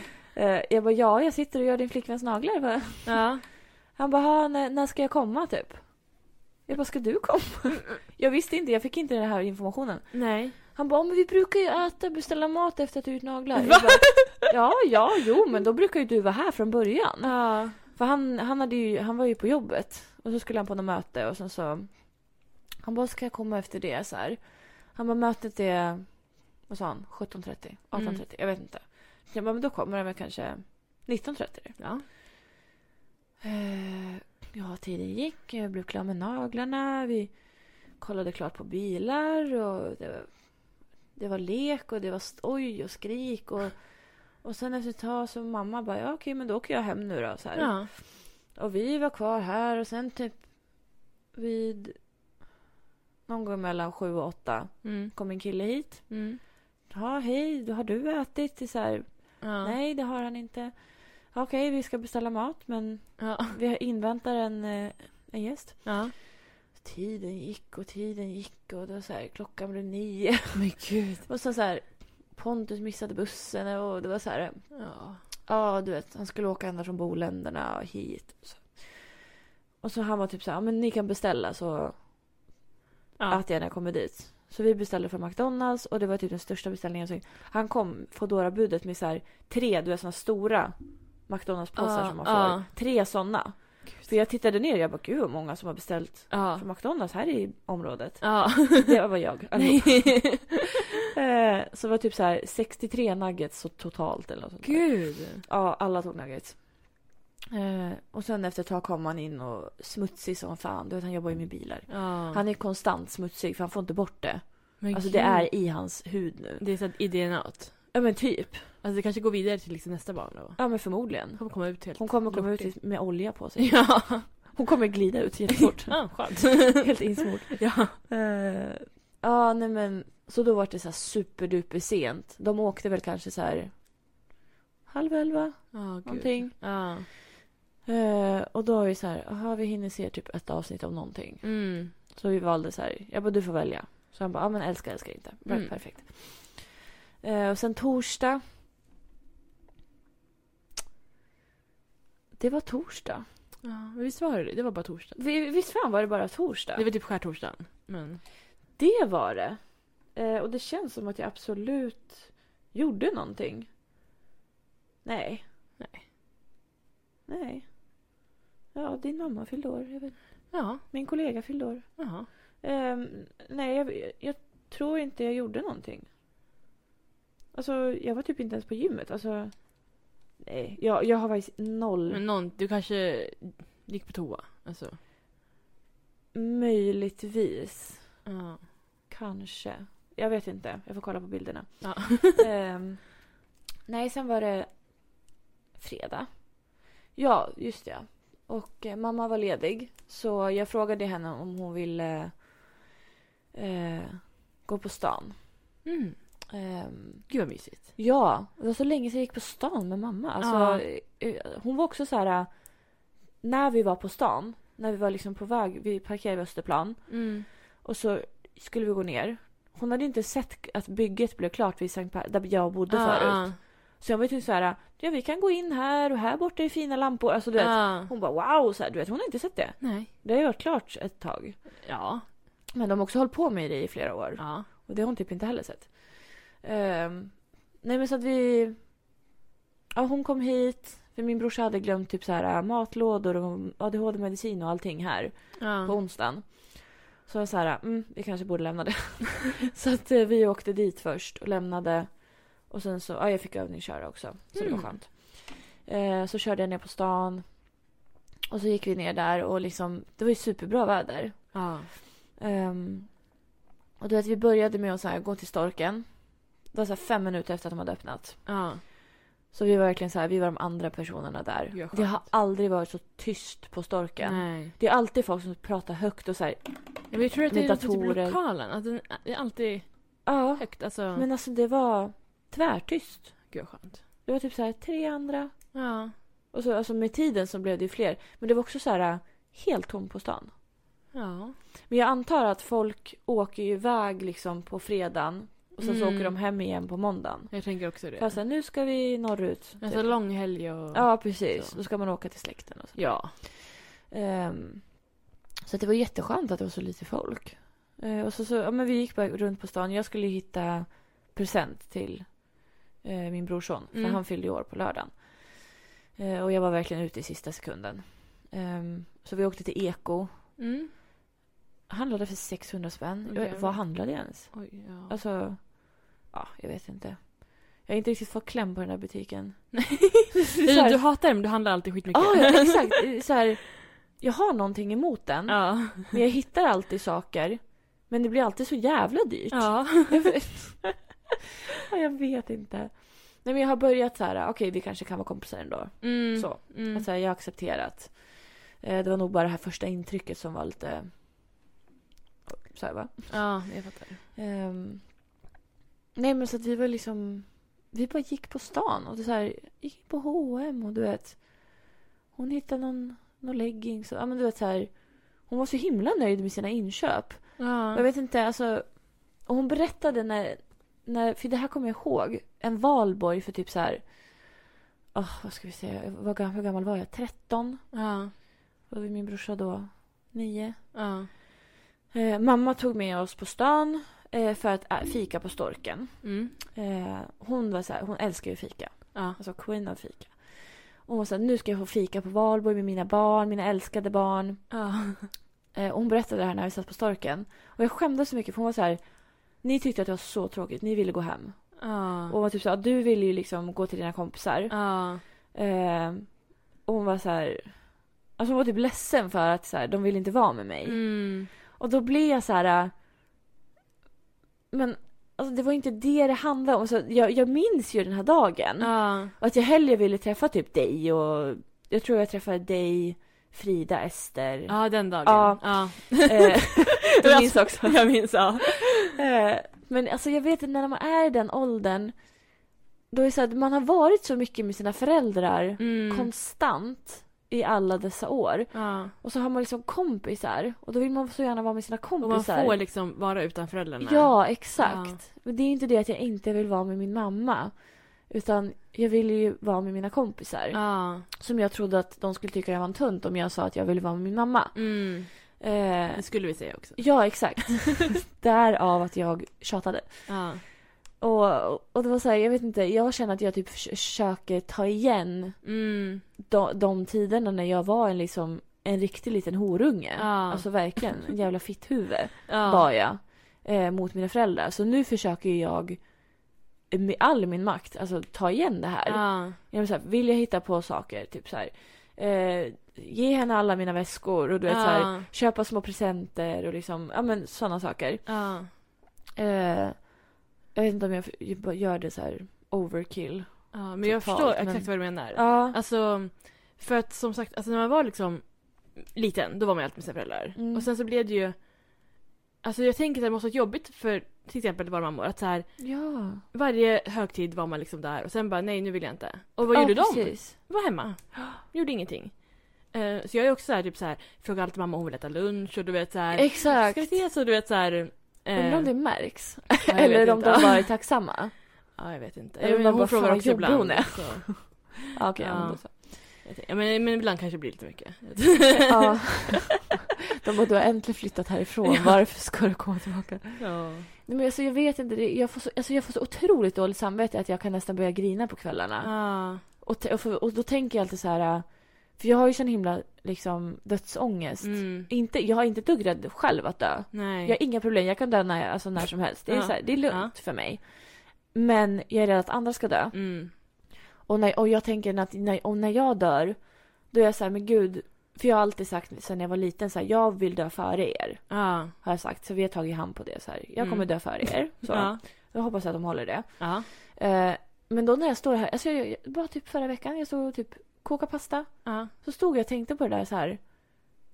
Speaker 1: Eh, jag bara ja, jag sitter och gör din flickväns naglar. va?
Speaker 2: ja.
Speaker 1: Han bara, "Ha, när, när ska jag komma typ? Jag bara, ska du komma? Jag visste inte, jag fick inte den här informationen.
Speaker 2: Nej.
Speaker 1: Han bara, men vi brukar ju äta, beställa mat efter att du gjort naglar. Jag bara, ja, ja, jo, men då brukar ju du vara här från början.
Speaker 2: Ja.
Speaker 1: För han, han, hade ju, han var ju på jobbet och så skulle han på något möte och sen så... Han bara, ska jag komma efter det så här? Han bara, mötet är... Vad sa han? 17.30? 18.30? Jag vet inte. Jag bara, men då kommer han väl kanske 19.30?
Speaker 2: Ja.
Speaker 1: Eh, Ja, tiden gick. Jag blev klar med naglarna. Vi kollade klart på bilar. Och det, var, det var lek och det var stoj och skrik. Och, och sen efter ett tag så mamma bara, ja okej men då åker jag hem nu då. Så här.
Speaker 2: Ja.
Speaker 1: Och vi var kvar här och sen typ vid någon gång mellan sju och åtta
Speaker 2: Mm.
Speaker 1: kom en kille hit.
Speaker 2: Mm.
Speaker 1: Ja, hej, då har du ätit? Det är Så här,
Speaker 2: Ja.
Speaker 1: Nej, det har han inte. "Ja, Okej, vi ska beställa mat men
Speaker 2: Ja.
Speaker 1: vi inväntar en, eh, en gäst.
Speaker 2: ja.
Speaker 1: Tiden gick och tiden gick och då så här, klockan blev nio.
Speaker 2: Men gud.
Speaker 1: Och så, så här, Pontus missade bussen och det var så här,
Speaker 2: Ja.
Speaker 1: ja du vet, han skulle åka ända från Boländerna och hit. Och så, och så han var typ så här, "Ja, men ni kan beställa så
Speaker 2: Ja.
Speaker 1: äter jag när jag kommer dit. Så vi beställde från McDonalds och det var typ den största beställningen. Så han kom, foodora budet med så här tre, du vet såna stora McDonalds-påsar
Speaker 2: Ja,
Speaker 1: som man får.
Speaker 2: ja.
Speaker 1: Tre sådana. För jag tittade ner och jag bara, gud vad många som har beställt
Speaker 2: Ja.
Speaker 1: från McDonalds här i området.
Speaker 2: Ja.
Speaker 1: Det var jag.
Speaker 2: Nej.
Speaker 1: Eh, så det var typ så här 63 nuggets så totalt eller något sånt där.
Speaker 2: Gud.
Speaker 1: Ja, alla tog nuggets. Eh, och sen efter ett tag kom han in och smutsig som fan. Du vet, han jobbar ju med bilar.
Speaker 2: Ja.
Speaker 1: Han är konstant smutsig för han får inte bort det.
Speaker 2: Men
Speaker 1: Alltså
Speaker 2: gud.
Speaker 1: det är i hans hud nu.
Speaker 2: Det är så att i DNA-t.
Speaker 1: Ja men typ.
Speaker 2: Alltså det kanske går vidare till liksom nästa barn då.
Speaker 1: Ja men
Speaker 2: Hon
Speaker 1: förmodligen.
Speaker 2: kommer komma ut helt.
Speaker 1: Hon kommer komma
Speaker 2: lortig.
Speaker 1: ut med olja på sig.
Speaker 2: Ja.
Speaker 1: Hon kommer glida ut jättefort.
Speaker 2: Ja, skönt.
Speaker 1: Helt insmord.
Speaker 2: ja.
Speaker 1: Eh, ja, nej men. Så då var det så här superduper sent. De åkte väl kanske så här halv elva
Speaker 2: Ja, gud.
Speaker 1: någonting.
Speaker 2: Ja.
Speaker 1: Eh, och då var vi så här, jaha vi hinner se typ ett avsnitt av någonting.
Speaker 2: Mm.
Speaker 1: Så vi valde så här, jag bara du får välja. Så han bara, ja men älskar, älskar inte. Bara,
Speaker 2: Mm.
Speaker 1: Perfekt. Eh, och sen torsdag. Det var torsdag.
Speaker 2: Ja, men visst var det det? Det var bara torsdag.
Speaker 1: Vi- Visst fan var det bara torsdag?
Speaker 2: Det var typ skärtorsdagen. Men...
Speaker 1: Det var det. Eh, och det känns som att jag absolut gjorde någonting. Nej.
Speaker 2: Nej.
Speaker 1: Nej. Ja, din mamma fyllde år. Jag vet.
Speaker 2: Ja.
Speaker 1: Min kollega fyllde år.
Speaker 2: Jaha.
Speaker 1: Ehm, nej, jag, jag tror inte jag gjorde någonting. Alltså, jag var typ inte ens på gymmet. Alltså, nej, jag, jag har faktiskt noll
Speaker 2: Men någon, du kanske gick på toa? Alltså.
Speaker 1: möjligtvis.
Speaker 2: Ja.
Speaker 1: Kanske. Jag vet inte. Jag får kolla på bilderna.
Speaker 2: Ja.
Speaker 1: Ehm, nej, sen var det fredag. Ja, just det. Och eh, mamma var ledig. Så jag frågade henne om hon ville eh, gå på stan.
Speaker 2: Mm.
Speaker 1: Ehm,
Speaker 2: Gud vad mysigt.
Speaker 1: Ja, det var så länge sedan jag gick på stan med mamma. Alltså,
Speaker 2: Ja.
Speaker 1: eh, Hon var också så här... eh, När vi var på stan, när vi var liksom på väg, vi parkerade vid Österplan
Speaker 2: Mm.
Speaker 1: och så skulle vi gå ner. Hon hade inte sett att bygget blev klart vid Sankt Per, där jag bodde
Speaker 2: Ah.
Speaker 1: förut. Så jag var ju typ så här, ja vi kan gå in här och här borta är fina lampor. Alltså du vet.
Speaker 2: Ja.
Speaker 1: Hon bara wow, så här, du vet hon har inte sett det.
Speaker 2: Nej.
Speaker 1: Det har ju varit klart ett tag.
Speaker 2: Ja.
Speaker 1: Men de har också hållit på med det i flera år.
Speaker 2: Ja.
Speaker 1: Och det har hon typ inte heller sett. Ehm, nej men så att vi... Ja, hon kom hit. För min brorsa hade glömt typ så här matlådor och ADHD-medicin och allting här på
Speaker 2: Ja.
Speaker 1: onsdagen. Så jag var så här, mm, vi kanske borde lämna det. så att eh, vi åkte dit först och lämnade. Och sen så, ja jag fick övningsköra också. Så det
Speaker 2: Mm.
Speaker 1: var skönt. Eh, så körde jag ner på stan. Och så gick vi ner där och liksom, det var ju superbra väder.
Speaker 2: Ja.
Speaker 1: Ehm, och du vet, vi började med att så här, gå till storken. Det var så här fem minuter efter att de hade öppnat.
Speaker 2: Ja.
Speaker 1: Så vi var verkligen så här, vi var de andra personerna där.
Speaker 2: Gud, vad skönt.
Speaker 1: det har aldrig varit så tyst på storken.
Speaker 2: Nej.
Speaker 1: Det är alltid folk som pratar högt och så här,
Speaker 2: Men jag tror att det
Speaker 1: Med
Speaker 2: är typ
Speaker 1: datorer.
Speaker 2: lokalen. Att den det är alltid
Speaker 1: ja.
Speaker 2: högt. Alltså.
Speaker 1: Men alltså det var tvärtyst.
Speaker 2: Gud vad skönt.
Speaker 1: Det var typ så här tre andra.
Speaker 2: Ja.
Speaker 1: Och så alltså med tiden så blev det ju fler. Men det var också så här helt tomt på stan.
Speaker 2: Ja.
Speaker 1: Men jag antar att folk åker ju iväg liksom på fredagen. Och sen så
Speaker 2: Mm.
Speaker 1: åker de hem igen på måndagen.
Speaker 2: Jag tänker också det.
Speaker 1: Fast så här, nu ska vi norrut. typ.
Speaker 2: alltså lång helg och...
Speaker 1: Ja, precis.
Speaker 2: Så.
Speaker 1: Då ska man åka till släkten och så.
Speaker 2: Ja.
Speaker 1: Ehm, så att det var jätteskönt att det var så lite folk. Eh, och så, så, ja, men vi gick bara runt på stan. Jag skulle hitta present till eh, min brorson. För
Speaker 2: Mm.
Speaker 1: han fyllde ju år på lördagen. Eh, och jag var verkligen ute i sista sekunden. Ehm, så vi åkte till Eko.
Speaker 2: Mm.
Speaker 1: Handlade för 600 spänn.
Speaker 2: Åh,
Speaker 1: Jag-
Speaker 2: jävlar.
Speaker 1: Vad handlade jag ens?
Speaker 2: Oj, ja.
Speaker 1: Alltså, ja, jag vet inte. Jag har inte riktigt fått kläm på den här butiken.
Speaker 2: du,
Speaker 1: så här-
Speaker 2: du hatar det men du handlar alltid skitmycket.
Speaker 1: Ja, ja, exakt. Så här, jag har någonting emot den.
Speaker 2: Ja.
Speaker 1: Men jag hittar alltid saker. Men det blir alltid så jävla dyrt.
Speaker 2: Ja.
Speaker 1: Ja, jag vet inte. Nej, men jag har börjat så här, okej vi kanske kan vara kompisar ändå.
Speaker 2: Mm.
Speaker 1: Så.
Speaker 2: Mm.
Speaker 1: Alltså, jag har accepterat. Eh, Det var nog bara det här första intrycket som var lite... Så här, va?
Speaker 2: Ja, jag fattar.
Speaker 1: Ehm, Nej men så att vi var liksom... Vi bara gick på stan och det så här, gick in på H&M och du vet. Hon hittade någon, någon leggings och, ja men du vet så här. Hon var så himla nöjd med sina inköp.
Speaker 2: Ja.
Speaker 1: Och Jag vet inte, alltså. Och hon berättade när, när, för det här kommer jag ihåg, en valborg för typ så här. åh, vad ska vi säga, vad, gam- hur gammal var jag? 13?
Speaker 2: Ja.
Speaker 1: Var vi min brorsa då? 9?
Speaker 2: Ja.
Speaker 1: Eh, mamma tog med oss på stan. eh, för att ä, fika på Storken.
Speaker 2: Mm.
Speaker 1: Eh, hon, var så här, hon älskar ju fika.
Speaker 2: Ja.
Speaker 1: Alltså queen av fika. Och hon var så här, nu ska jag få fika på valborg med mina barn, mina älskade barn.
Speaker 2: Ja.
Speaker 1: Eh, och hon berättade det här när vi satt på Storken. Och jag skämdes så mycket för hon var så här, ni tyckte att det var så tråkigt, ni ville gå hem.
Speaker 2: Ja.
Speaker 1: Och var typ så här, du ville ju liksom gå till dina kompisar.
Speaker 2: Ja.
Speaker 1: Eh, och hon var så här, alltså hon var typ ledsen för att så här, de ville inte vara med mig.
Speaker 2: Mm.
Speaker 1: Och då blir jag så här. äh, Men alltså, det var inte det det handlade om. Så jag, jag minns ju den här dagen.
Speaker 2: Ja.
Speaker 1: Och att jag hellre ville träffa typ dig och jag tror jag träffade dig, Frida, Ester.
Speaker 2: Ja, den dagen.
Speaker 1: Ja.
Speaker 2: Ja.
Speaker 1: Eh, du minns också.
Speaker 2: Jag minns, ja.
Speaker 1: Eh, Men alltså jag vet att när man är i den åldern. Då är det så att man har varit så mycket med sina föräldrar
Speaker 2: Mm.
Speaker 1: konstant i alla dessa år.
Speaker 2: ja.
Speaker 1: Och så har man liksom kompisar och då vill man så gärna vara med sina
Speaker 2: Och man
Speaker 1: kompisar.
Speaker 2: får liksom vara utan föräldrarna.
Speaker 1: Ja, exakt. Men det är ju inte det att jag inte vill vara med min mamma. Utan jag ville ju vara med mina kompisar.
Speaker 2: Ja.
Speaker 1: Som jag trodde att de skulle tycka jag var en tunt om jag sa att jag ville vara med min mamma.
Speaker 2: Mm.
Speaker 1: Eh,
Speaker 2: Det skulle vi säga också.
Speaker 1: ja, exakt. Därav att jag tjatade.
Speaker 2: Ja.
Speaker 1: Och, och det var så här, jag vet inte, jag känner att jag typ förs- försöker ta igen
Speaker 2: Mm.
Speaker 1: de, de tiderna när jag var en liksom en riktig liten horunge.
Speaker 2: Ja.
Speaker 1: Alltså verkligen, en jävla fitthuvud.
Speaker 2: ja.
Speaker 1: var jag eh, mot mina föräldrar. Så nu försöker jag med all min makt alltså, ta igen det här.
Speaker 2: Ja.
Speaker 1: Genom så här vill jag hitta på saker, typ så här, eh, ge henne alla mina väskor och du vet, så här,
Speaker 2: Ja.
Speaker 1: köpa små presenter och liksom, ja men sådana saker.
Speaker 2: Ja.
Speaker 1: Eh, jag vet inte om jag jag bara gör det så här overkill.
Speaker 2: Ja, men jag
Speaker 1: Totalt,
Speaker 2: förstår
Speaker 1: men-
Speaker 2: exakt vad du menar.
Speaker 1: Ja.
Speaker 2: Alltså, för att som sagt, alltså när man var liksom liten, då var man ju alltid med sina föräldrar.
Speaker 1: Mm.
Speaker 2: Och sen så blev det ju... Alltså jag tänker att det måste varit jobbigt för till exempel våra mammor att så här,
Speaker 1: Ja.
Speaker 2: varje högtid var man liksom där och sen bara nej nu vill jag inte. Och vad gjorde de? Var hemma. Gjorde ingenting. Eh, så jag är också så här, typ så här, frågar alltid mamma om hon vill äta lunch och du vet så här.
Speaker 1: Exakt.
Speaker 2: Ska vi ses? Och du vet så här. eh,
Speaker 1: Undrar om det märks.
Speaker 2: ja, jag
Speaker 1: Eller
Speaker 2: vet
Speaker 1: om de
Speaker 2: inte.
Speaker 1: bara är tacksamma.
Speaker 2: Ja, jag vet inte.
Speaker 1: Eller
Speaker 2: Jag
Speaker 1: om
Speaker 2: menar,
Speaker 1: de
Speaker 2: hon
Speaker 1: bara, "Fan,
Speaker 2: frågar
Speaker 1: vad
Speaker 2: också
Speaker 1: jobbig
Speaker 2: ibland.
Speaker 1: hon är.
Speaker 2: så.
Speaker 1: Ja, okej.
Speaker 2: Ja.
Speaker 1: ja. men då så.
Speaker 2: Jag tänker- Ja, men, men ibland kanske det blir lite mycket.
Speaker 1: Ja. De bara, du har äntligen flyttat härifrån. Varför ska du komma tillbaka?
Speaker 2: ja.
Speaker 1: Nej, men alltså, jag vet inte. det- Jag får, så, alltså, jag får så otroligt dåligt samvete att jag kan nästan börja grina på kvällarna.
Speaker 2: Ja.
Speaker 1: Och, te- och, för, och då tänker jag alltid så här... äh, För jag har ju sån himla liksom, dödsångest.
Speaker 2: Mm.
Speaker 1: Inte, jag är inte ett dugg rädd själv att dö.
Speaker 2: Nej.
Speaker 1: Jag har inga problem. Jag kan dö när, jag- alltså, när som helst. Det är,
Speaker 2: Ja.
Speaker 1: så här, det är lugnt för mig. Men jag är rädd att andra ska dö.
Speaker 2: Mm.
Speaker 1: Och, när, och jag tänker att när, och när jag dör, då är jag så här, men gud. För jag har alltid sagt sen jag var liten så här, jag vill dö före er.
Speaker 2: Ja.
Speaker 1: Har jag sagt, så vi har tagit hand på det så här. Jag
Speaker 2: Mm.
Speaker 1: kommer dö före er. Så.
Speaker 2: Ja.
Speaker 1: Jag hoppas att de håller det.
Speaker 2: Ja.
Speaker 1: Eh, men då när jag står här, alltså jag, jag, bara typ förra veckan, jag stod och typ kokade pasta.
Speaker 2: Ja.
Speaker 1: Så stod jag och tänkte på det där så här.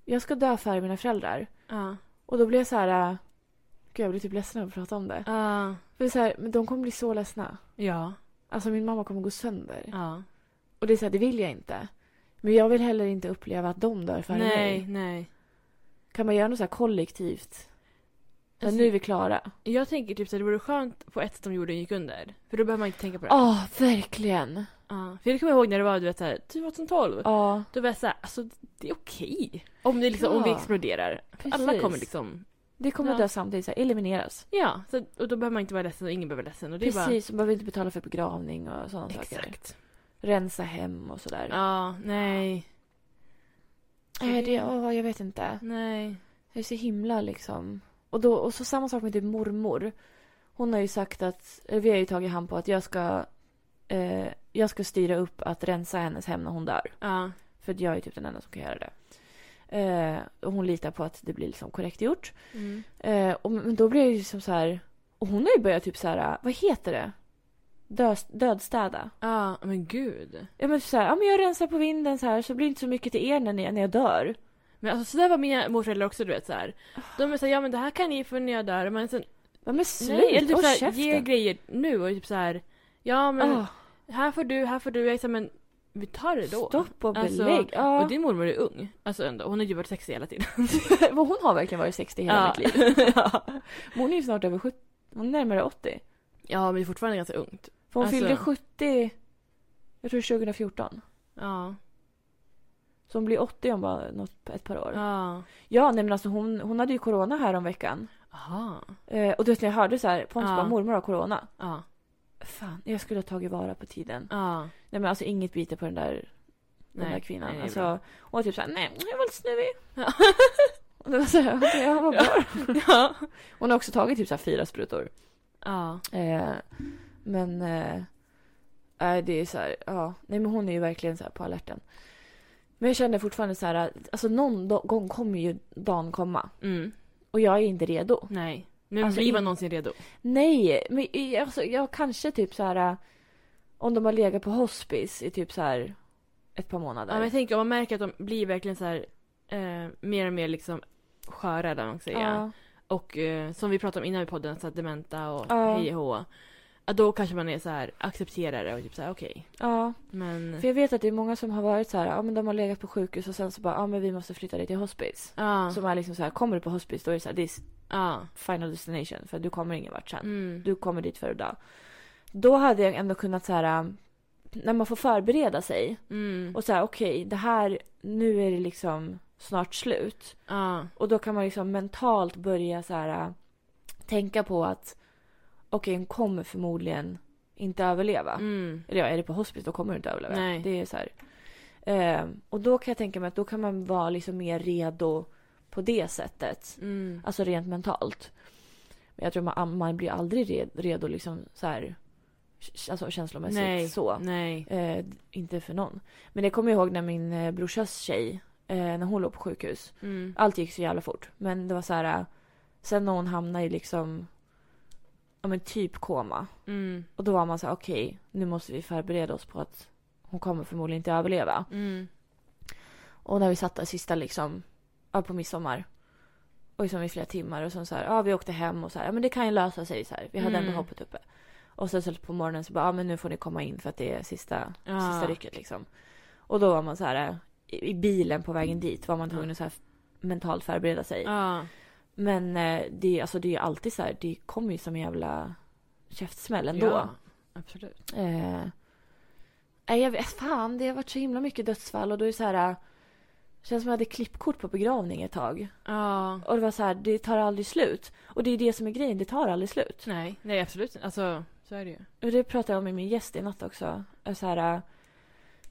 Speaker 1: Jag ska dö före mina föräldrar.
Speaker 2: Ja.
Speaker 1: Och då blev jag så här, eh, gud jag blir typ ledsen av att prata om det.
Speaker 2: Ja.
Speaker 1: För så här, men de kommer bli så ledsna.
Speaker 2: Ja.
Speaker 1: Alltså min mamma kommer gå sönder.
Speaker 2: Ja.
Speaker 1: Och det är så här, det vill jag inte. Men jag vill heller inte uppleva att de dör före
Speaker 2: Nej,
Speaker 1: mig.
Speaker 2: nej.
Speaker 1: Kan man göra något så här kollektivt? Så här,
Speaker 2: Alltså-
Speaker 1: nu är vi klara.
Speaker 2: Jag tänker typ att det vore skönt på ett sätt om jorden gick under. För då behöver man inte tänka på det.
Speaker 1: Ja, verkligen.
Speaker 2: Ja. För jag kommer ihåg när det var du vet, så här, 2012.
Speaker 1: Ja,
Speaker 2: Då var jag såhär, alltså det är okej. Om, det liksom, om vi
Speaker 1: Ja.
Speaker 2: exploderar.
Speaker 1: precis.
Speaker 2: Alla kommer liksom,
Speaker 1: Det kommer
Speaker 2: Ja.
Speaker 1: dö samtidigt, så här, elimineras.
Speaker 2: ja. Så, och då behöver man inte vara ledsen och ingen behöver vara ledsen. Och det är
Speaker 1: Precis, man behöver inte betala för begravning och sådana
Speaker 2: bara,
Speaker 1: saker.
Speaker 2: exakt.
Speaker 1: Rensa hem och sådär.
Speaker 2: Ja, nej.
Speaker 1: Nej, det, åh, jag vet inte.
Speaker 2: Nej.
Speaker 1: Det är så himla liksom. Och, då, och så samma sak med typ mormor. Hon har ju sagt att, eller vi har ju tagit hand på att jag ska, eh, jag ska styra upp att rensa hennes hem när hon dör.
Speaker 2: Ja.
Speaker 1: För att jag är typ den enda som kan göra det. Eh, och hon litar på att det blir liksom korrekt gjort.
Speaker 2: Mm.
Speaker 1: Eh, och, men då blir jag ju som så här, och hon har ju börjat typ så här, vad heter det? Dö, dödstäda.
Speaker 2: Ja, men gud.
Speaker 1: Ja men så här, ja men jag rensar på vinden så här så blir det inte så mycket till er när, ni, när jag dör.
Speaker 2: Men alltså sådär var mina morföräldrar också du vet såhär. De är såhär, ja men det här kan ni få när jag dör. Men sen,
Speaker 1: Ja, men slut!
Speaker 2: nej, eller typ
Speaker 1: Håll
Speaker 2: såhär,
Speaker 1: käften.
Speaker 2: ge grejer nu och typ såhär. Ja men
Speaker 1: Ah,
Speaker 2: här får du, här får du. Jag är såhär, men vi tar det då.
Speaker 1: stopp och
Speaker 2: Alltså,
Speaker 1: belägg. Ah. ja.
Speaker 2: Och din mormor är ung. Alltså ändå, hon har ju varit sexig hela tiden.
Speaker 1: Men Hon har verkligen varit 60 hela
Speaker 2: Ja.
Speaker 1: mitt liv. Men Hon är ju snart över 70, hon är närmare 80.
Speaker 2: Ja men det är fortfarande ganska ungt.
Speaker 1: För hon
Speaker 2: Alltså-
Speaker 1: fyllde 70, jag tror 2014.
Speaker 2: Ja.
Speaker 1: Så hon blir 80 om bara något, ett par år. Ja,
Speaker 2: Ja.
Speaker 1: nej men alltså hon, hon hade ju corona här om veckan.
Speaker 2: Aha.
Speaker 1: Eh, och du vet när jag hörde så här, Pontus
Speaker 2: Ja.
Speaker 1: bara mormor har corona.
Speaker 2: Ja.
Speaker 1: Fan, jag skulle ha tagit vara på tiden.
Speaker 2: Ja.
Speaker 1: Nej men alltså inget biter på den där, den där kvinnan.
Speaker 2: det är bra.
Speaker 1: alltså, hon var typ såhär, nej jag var lite snuvig. Och det var såhär, okej ja, vad bra.
Speaker 2: ja.
Speaker 1: Hon har också tagit typ så här fyra sprutor.
Speaker 2: Ja.
Speaker 1: Eh, men eh, nej, det är så här, ja. Nej men hon är ju verkligen så här på alerten. Men jag känner fortfarande så här, att, alltså någon do- gång kommer ju dagen komma.
Speaker 2: Mm.
Speaker 1: Och jag är inte redo.
Speaker 2: Nej. Men
Speaker 1: Alltså,
Speaker 2: blir man
Speaker 1: i-
Speaker 2: någonsin redo?
Speaker 1: Nej, men i- alltså, jag kanske typ så här, eh, om de har legat på hospice i typ så här ett par
Speaker 2: Ja,
Speaker 1: månader.
Speaker 2: men jag tänker om man märker att de blir verkligen så här eh, mer och mer liksom sköra eller vad man ska säga.
Speaker 1: ja.
Speaker 2: Och eh, som vi pratade om innan i podden, så här, dementa och
Speaker 1: Ja.
Speaker 2: hej och hå. Ja, då kanske man är så här accepterar det och typ så här okej.
Speaker 1: ja,
Speaker 2: Men...
Speaker 1: för jag vet att det är många som har varit så här, ja men de har legat på sjukhus och sen så bara, ja men vi måste flytta dig till hospice.
Speaker 2: Ja.
Speaker 1: Som är liksom så här, kommer du på hospice då är det så här, this
Speaker 2: Ja.
Speaker 1: final destination för du kommer ingen vart sen.
Speaker 2: Mm.
Speaker 1: du kommer dit för att dö. Då hade jag ändå kunnat så här, ähm, när man får förbereda sig
Speaker 2: Mm.
Speaker 1: och så här okej, det här, nu är det liksom snart slut.
Speaker 2: Ja.
Speaker 1: Och då kan man liksom mentalt börja så här äh, tänka på att okej, hon kommer förmodligen inte överleva.
Speaker 2: Mm.
Speaker 1: Eller ja, är det på hospice då kommer du inte överleva.
Speaker 2: Nej.
Speaker 1: Det är så här. Ehm, och då kan jag tänka mig att då kan man vara liksom mer redo på det sättet.
Speaker 2: Mm.
Speaker 1: Alltså rent mentalt. Men jag tror man, man blir aldrig re- redo liksom så här, k- alltså känslomässigt
Speaker 2: Nej.
Speaker 1: så.
Speaker 2: Nej.
Speaker 1: Eh, d- inte för någon. Men jag kommer ihåg när min eh, brorsas tjej, eh, när hon låg på sjukhus.
Speaker 2: Mm.
Speaker 1: Allt gick så jävla fort. Men det var så här, eh, sen när hon hamnade i liksom, ja men typ koma.
Speaker 2: Mm.
Speaker 1: Och då var man så här, okej, nu måste vi förbereda oss på att hon kommer förmodligen inte överleva.
Speaker 2: Mm.
Speaker 1: Och när vi satt där sista liksom, ja, på midsommar. Och liksom i flera timmar och sen så här, ja vi åkte hem och så här, ja men det kan ju lösa sig så här. Vi hade
Speaker 2: Mm.
Speaker 1: ändå hoppet uppe. Och sen så på morgonen så bara, ja men nu får ni komma in för att det är sista,
Speaker 2: Ja.
Speaker 1: sista rycket liksom. Och då var man så här, eh, i, i bilen på vägen dit var man tvungen
Speaker 2: Mm. Ja.
Speaker 1: att så här mentalt förbereda sig.
Speaker 2: Ja.
Speaker 1: Men eh, det, är ju- alltså, det är ju alltid så här, det kommer ju som en jävla käftsmäll ändå.
Speaker 2: Ja. Absolut.
Speaker 1: Eh, nej, jag vet, fan, det har varit så himla mycket dödsfall och då är det så här... eh, känns som jag hade klippkort på begravning ett tag.
Speaker 2: Ja.
Speaker 1: Och det var så här, det tar aldrig slut. Och det är det som är grejen, det tar aldrig slut.
Speaker 2: Nej. Nej, absolut Alltså, så är det ju.
Speaker 1: Och det pratade jag om med min gäst i natt också. Och så här, eh,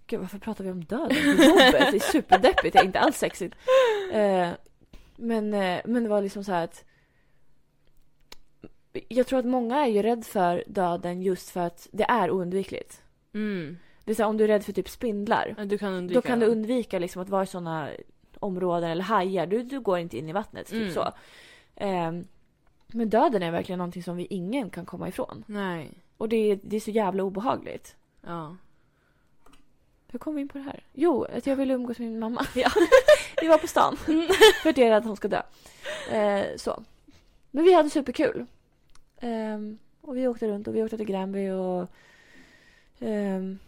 Speaker 1: gud varför pratar vi om döden på jobbet? Det är superdeppigt, det är inte alls sexigt. Eh, men, eh, men det var liksom så här att jag tror att många är ju rädd för döden just för att det är oundvikligt.
Speaker 2: Mm.
Speaker 1: Det är så här, om du är rädd för typ spindlar.
Speaker 2: Ja, Du kan undvika
Speaker 1: Då kan du
Speaker 2: dem.
Speaker 1: undvika liksom att vara i sådana områden eller hajar. Du, du går inte in i vattnet. Typ
Speaker 2: Mm.
Speaker 1: så. Ehm, men döden är verkligen någonting som vi ingen kan komma ifrån.
Speaker 2: Nej.
Speaker 1: Och det är, det är så jävla obehagligt.
Speaker 2: Ja.
Speaker 1: Hur kom vi in på det här? Jo, att jag ville umgås med min mamma. Ja. Mm. vi var på stan. För att jag är rädd att hon ska dö. Eh, så. Men vi hade superkul. Ehm, och vi åkte runt och vi åkte till Granby och ehm,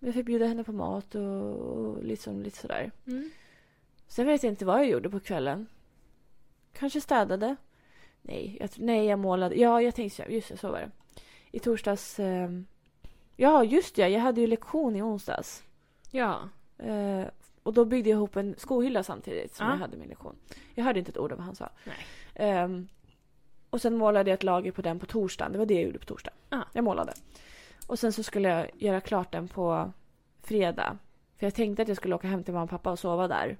Speaker 1: jag fick bjuda henne på mat och, och liksom, lite sådär.
Speaker 2: Mm.
Speaker 1: Sen vet jag inte vad jag gjorde på kvällen. Kanske städade. Nej, jag, tr- nej, jag målade. Ja, jag tänkte så. här. Just det, så var det. I torsdags... Eh, ja, just det. Jag hade ju lektion i onsdags.
Speaker 2: Ja.
Speaker 1: Eh, och då byggde jag ihop en skohylla samtidigt som
Speaker 2: Ja.
Speaker 1: jag hade min lektion. Jag hörde inte ett ord av vad han sa.
Speaker 2: Nej.
Speaker 1: Ehm, och sen målade jag ett lager på den på torsdagen. Det var det jag gjorde på torsdagen.
Speaker 2: Ja.
Speaker 1: Jag målade. Och sen så skulle jag göra klart den på fredag. För jag tänkte att jag skulle åka hem till mamma och pappa och sova där.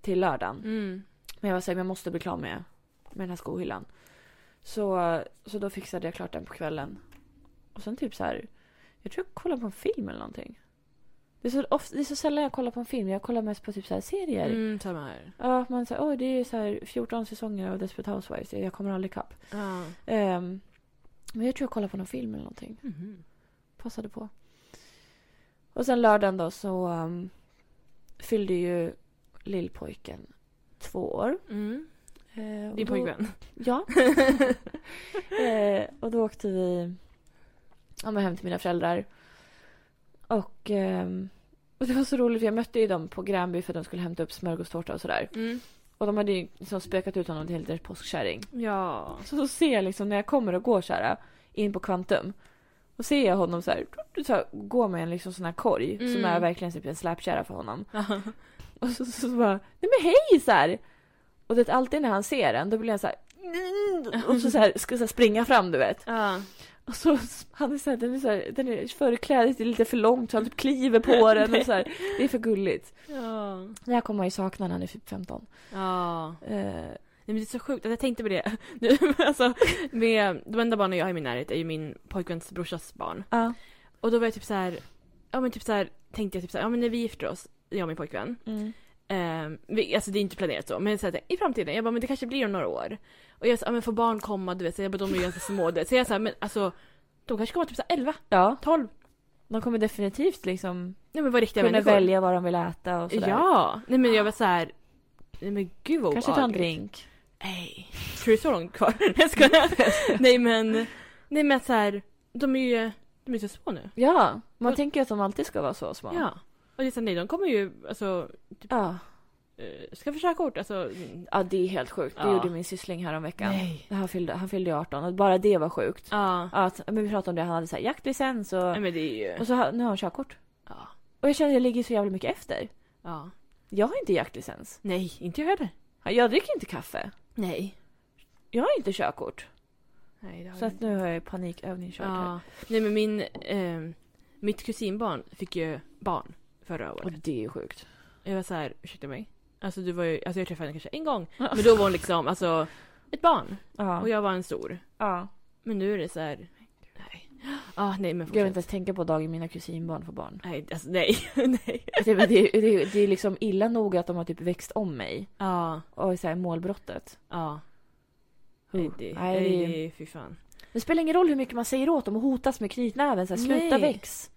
Speaker 1: Till lördagen.
Speaker 2: Mm.
Speaker 1: Men jag var såhär, men jag måste bli klar med, med den här skohyllan. Så, så då fixade jag klart den på kvällen. Och sen typ så här, jag tror jag kollade på en film eller någonting. Det är så, ofta, det är så sällan jag kollar på en film, jag kollar mest på typ så här serier.
Speaker 2: Mm, samma här.
Speaker 1: Ja, man säger, oj det är så här 14 säsonger av Desperate Housewives, jag kommer aldrig ikapp.
Speaker 2: Ja.
Speaker 1: Ehm, men jag tror jag kollade på någon film eller någonting
Speaker 2: Mhm.
Speaker 1: passade på. Och sen lördagen då så um, fyllde ju lillpojken två år.
Speaker 2: Mm.
Speaker 1: Eh, och
Speaker 2: Din
Speaker 1: då-
Speaker 2: pojkvän.
Speaker 1: Ja. eh, och då åkte vi ja, men hem till mina föräldrar. Och, ehm, och det var så roligt för jag mötte ju dem på Gränby för att de skulle hämta upp smörgåstårta och sådär.
Speaker 2: Mm.
Speaker 1: Och de hade ju liksom spökat ut honom till en liten påskkärring.
Speaker 2: Ja.
Speaker 1: Så, så ser jag liksom när jag kommer och går så här in på Kvantum. Och ser jag honom så här, så här gå med en liksom sån här korg som
Speaker 2: Mm.
Speaker 1: är verkligen typ en släpkärra för honom. Och så, så, så bara, nej men hej så här. Och det är alltid när han ser en då blir han så här, Och så, så här, ska så här springa fram du vet.
Speaker 2: Ja.
Speaker 1: Och så, han är så här, den är så här, den är, förklädet är lite för långt så han typ kliver på den och så här. Det är för gulligt.
Speaker 2: Ja.
Speaker 1: Det här kommer man ju sakna när han är typ 15.
Speaker 2: ja.
Speaker 1: Eh,
Speaker 2: Nej, men det är så sjukt att jag tänkte på det. Nu, alltså, med, de enda barnen jag har i min närhet är ju min pojkväns brorsas barn.
Speaker 1: ja.
Speaker 2: Och då var jag typ så här, ja men typ så här, tänkte jag typ så här, ja men när vi gifter oss, jag och min pojkvän.
Speaker 1: Mm.
Speaker 2: Eh, vi, alltså det är inte planerat så, men så här, i framtiden. Jag bara, men det kanske blir om några år. Och jag sa, ja men får barn komma, du vet, så jag bara, de är ju ganska små. du vet. Så jag sa, men alltså, de kanske kommer typ så här 11,
Speaker 1: ja,
Speaker 2: 12.
Speaker 1: de kommer definitivt liksom
Speaker 2: Nej men vad riktiga
Speaker 1: kunna
Speaker 2: människor.
Speaker 1: välja vad de vill äta och sådär.
Speaker 2: Ja! Nej men jag var så här, nej men gud vad
Speaker 1: Kanske ta en
Speaker 2: obehagligt.
Speaker 1: drink.
Speaker 2: Nej. Tror du det är så långt kvar? Nej, jag skojar. Nej men, nej men att så här, de är ju, de är så små nu.
Speaker 1: Ja, man
Speaker 2: Och-
Speaker 1: tänker ju att de alltid ska vara så små.
Speaker 2: Ja. Och det är så, nej de kommer ju, alltså,
Speaker 1: Ja,
Speaker 2: eh, ska få körkort, alltså.
Speaker 1: ja det är helt sjukt. Det
Speaker 2: Ja.
Speaker 1: gjorde min syssling häromveckan.
Speaker 2: Nej.
Speaker 1: Han fyllde, han fyllde ju 18 och bara det var sjukt.
Speaker 2: Ja.
Speaker 1: Att, men vi pratade om det, han hade så här, jaktlicens och,
Speaker 2: Nej men det är ju,
Speaker 1: och så har- nu har han körkort.
Speaker 2: ja.
Speaker 1: Och jag känner att jag ligger så jävla mycket efter.
Speaker 2: ja.
Speaker 1: Jag har inte jaktlicens.
Speaker 2: Nej, inte jag heller.
Speaker 1: Jag dricker inte kaffe.
Speaker 2: Nej.
Speaker 1: Jag har inte körkort.
Speaker 2: Nej det har
Speaker 1: Så
Speaker 2: jag
Speaker 1: att
Speaker 2: inte.
Speaker 1: nu har jag panikövning kört här.
Speaker 2: Ja. Nej men min, eh, mitt kusinbarn fick ju barn förra
Speaker 1: Och
Speaker 2: året.
Speaker 1: det är ju sjukt.
Speaker 2: Jag var så här, ursäkta mig. Alltså du var ju, alltså jag träffade henne kanske en gång. Men då var hon liksom, alltså, ett barn.
Speaker 1: Ja.
Speaker 2: Och jag var en stor.
Speaker 1: ja.
Speaker 2: Men nu är det så här. Nej. Ah, nej men
Speaker 1: Gud, jag vill inte
Speaker 2: fortsätt.
Speaker 1: ens tänka på dagen mina kusinbarn får barn.
Speaker 2: Nej, alltså nej. nej.
Speaker 1: Det, är- det, är- det, är- det är liksom illa nog att de har typ växt om mig.
Speaker 2: Ja,
Speaker 1: Och så här målbrottet.
Speaker 2: ja. Nej,
Speaker 1: Uh.
Speaker 2: det,
Speaker 1: Nej,
Speaker 2: nej,
Speaker 1: det-
Speaker 2: fy fan.
Speaker 1: Det spelar ingen roll hur mycket man säger åt dem och hotas med knytnäven. Så här, sluta
Speaker 2: Nej.
Speaker 1: väx.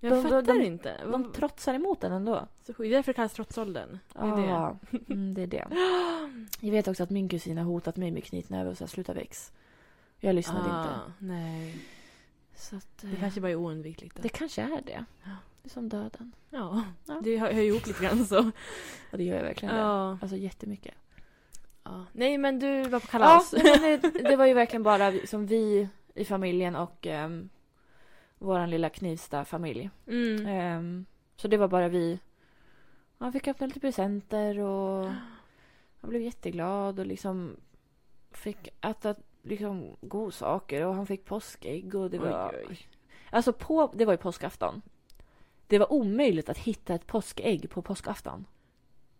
Speaker 2: Jag
Speaker 1: De- de-
Speaker 2: fattar
Speaker 1: de-
Speaker 2: inte.
Speaker 1: De
Speaker 2: Vad-
Speaker 1: trotsar emot den ändå.
Speaker 2: så sjukt. Det är därför det kallas trotsåldern. Det är det.
Speaker 1: Ja, mm, det är det. Jag vet också att min kusin har hotat mig med knytnäve och så här, sluta väx. Jag lyssnade inte.
Speaker 2: Ah, Nej.
Speaker 1: Så att, eh,
Speaker 2: Det kanske bara är oundvikligt. då.
Speaker 1: det kanske är det.
Speaker 2: Ja.
Speaker 1: Det är som döden.
Speaker 2: Ja,
Speaker 1: Ja.
Speaker 2: det hör hör ihop lite grann så.
Speaker 1: Och det gör jag verkligen. det.
Speaker 2: Ja.
Speaker 1: Alltså jättemycket.
Speaker 2: ja. Nej men du var på kalas.
Speaker 1: Ja, nej, men det, det var ju verkligen bara vi- som vi i familjen och um, vår lilla Knivsta-familj.
Speaker 2: Mm.
Speaker 1: Ehm, så det var bara vi. Man fick öppna lite presenter och han blev jätteglad och liksom fick äta liksom godsaker och han fick påskägg och det var...
Speaker 2: Oj, oj.
Speaker 1: Alltså på, det var ju påskafton. Det var omöjligt att hitta ett påskägg på påskafton.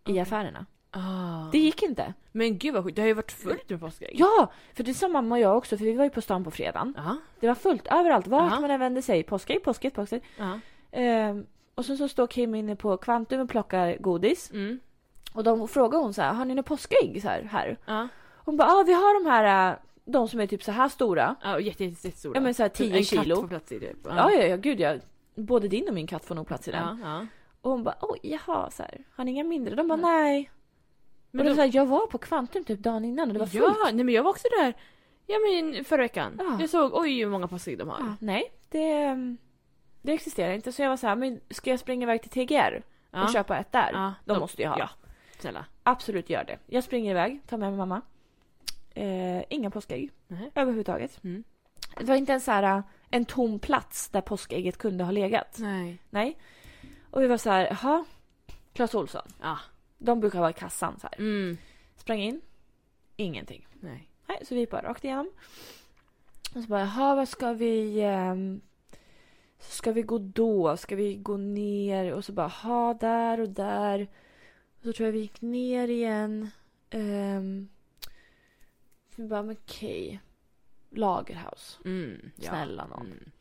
Speaker 1: I
Speaker 2: Okej.
Speaker 1: affärerna.
Speaker 2: Ah.
Speaker 1: Det gick inte.
Speaker 2: Men gud vad sjukt. Det har ju varit fullt med påskägg.
Speaker 1: Ja! För det sa mamma och jag också för vi var ju på stan på fredagen.
Speaker 2: Ja.
Speaker 1: Det var fullt överallt. Vart
Speaker 2: Aha.
Speaker 1: man än vände sig. Påskägg, påskägg, påskägg.
Speaker 2: Ja.
Speaker 1: Ehm, och sen så står Kim inne på Kvantum och plockar godis.
Speaker 2: Mm.
Speaker 1: Och de frågar hon så här, har ni några påskägg så här, här?
Speaker 2: Ja.
Speaker 1: Hon bara, ja ah, vi har de här, äh, de som är typ så här stora.
Speaker 2: Ja, och jätte, jätte, jättestora. Typ
Speaker 1: Ja men så här 10
Speaker 2: En katt
Speaker 1: kilo.
Speaker 2: får plats i typ.
Speaker 1: Ja, ja, ja, gud ja. Både din och min katt får nog plats i den.
Speaker 2: ja, ja.
Speaker 1: Och hon bara, oj, jaha, så här, har ni inga mindre? De bara, nej.
Speaker 2: Mm. Men
Speaker 1: och
Speaker 2: då-
Speaker 1: då, så här, jag var på Kvantum typ dagen innan och det var fullt.
Speaker 2: Ja, nej men jag var också där. Ja men förra veckan.
Speaker 1: Ja.
Speaker 2: Jag såg, oj hur många påskägg de har.
Speaker 1: Ja, nej, det, ehm, det existerar inte. Så jag var så här, men ska jag springa iväg till TGR och
Speaker 2: Ja.
Speaker 1: köpa ett där?
Speaker 2: Ja,
Speaker 1: De måste ju ha.
Speaker 2: Ja, snälla.
Speaker 1: Absolut gör det. Jag springer iväg, tar med mig mamma. Eh, inga påskägg
Speaker 2: Nej.
Speaker 1: överhuvudtaget.
Speaker 2: Mm.
Speaker 1: Det var inte ens så här, eh, en tom plats där påskägget kunde ha legat.
Speaker 2: Nej.
Speaker 1: Nej. Och vi var så här, jaha. Clas Ohlson.
Speaker 2: Ja.
Speaker 1: De brukar vara i kassan så här.
Speaker 2: Mm.
Speaker 1: Sprang in. Ingenting.
Speaker 2: Nej.
Speaker 1: Nej, så vi bara rakt igenom. Och så bara, jaha, vad ska vi... ehm, ska vi gå då? Ska vi gå ner? Och så bara, ha där och där. Och så tror jag vi gick ner igen. Um, vi bara, men okej. Lagerhaus.
Speaker 2: Mm. Ja.
Speaker 1: Snälla nån.
Speaker 2: Mm.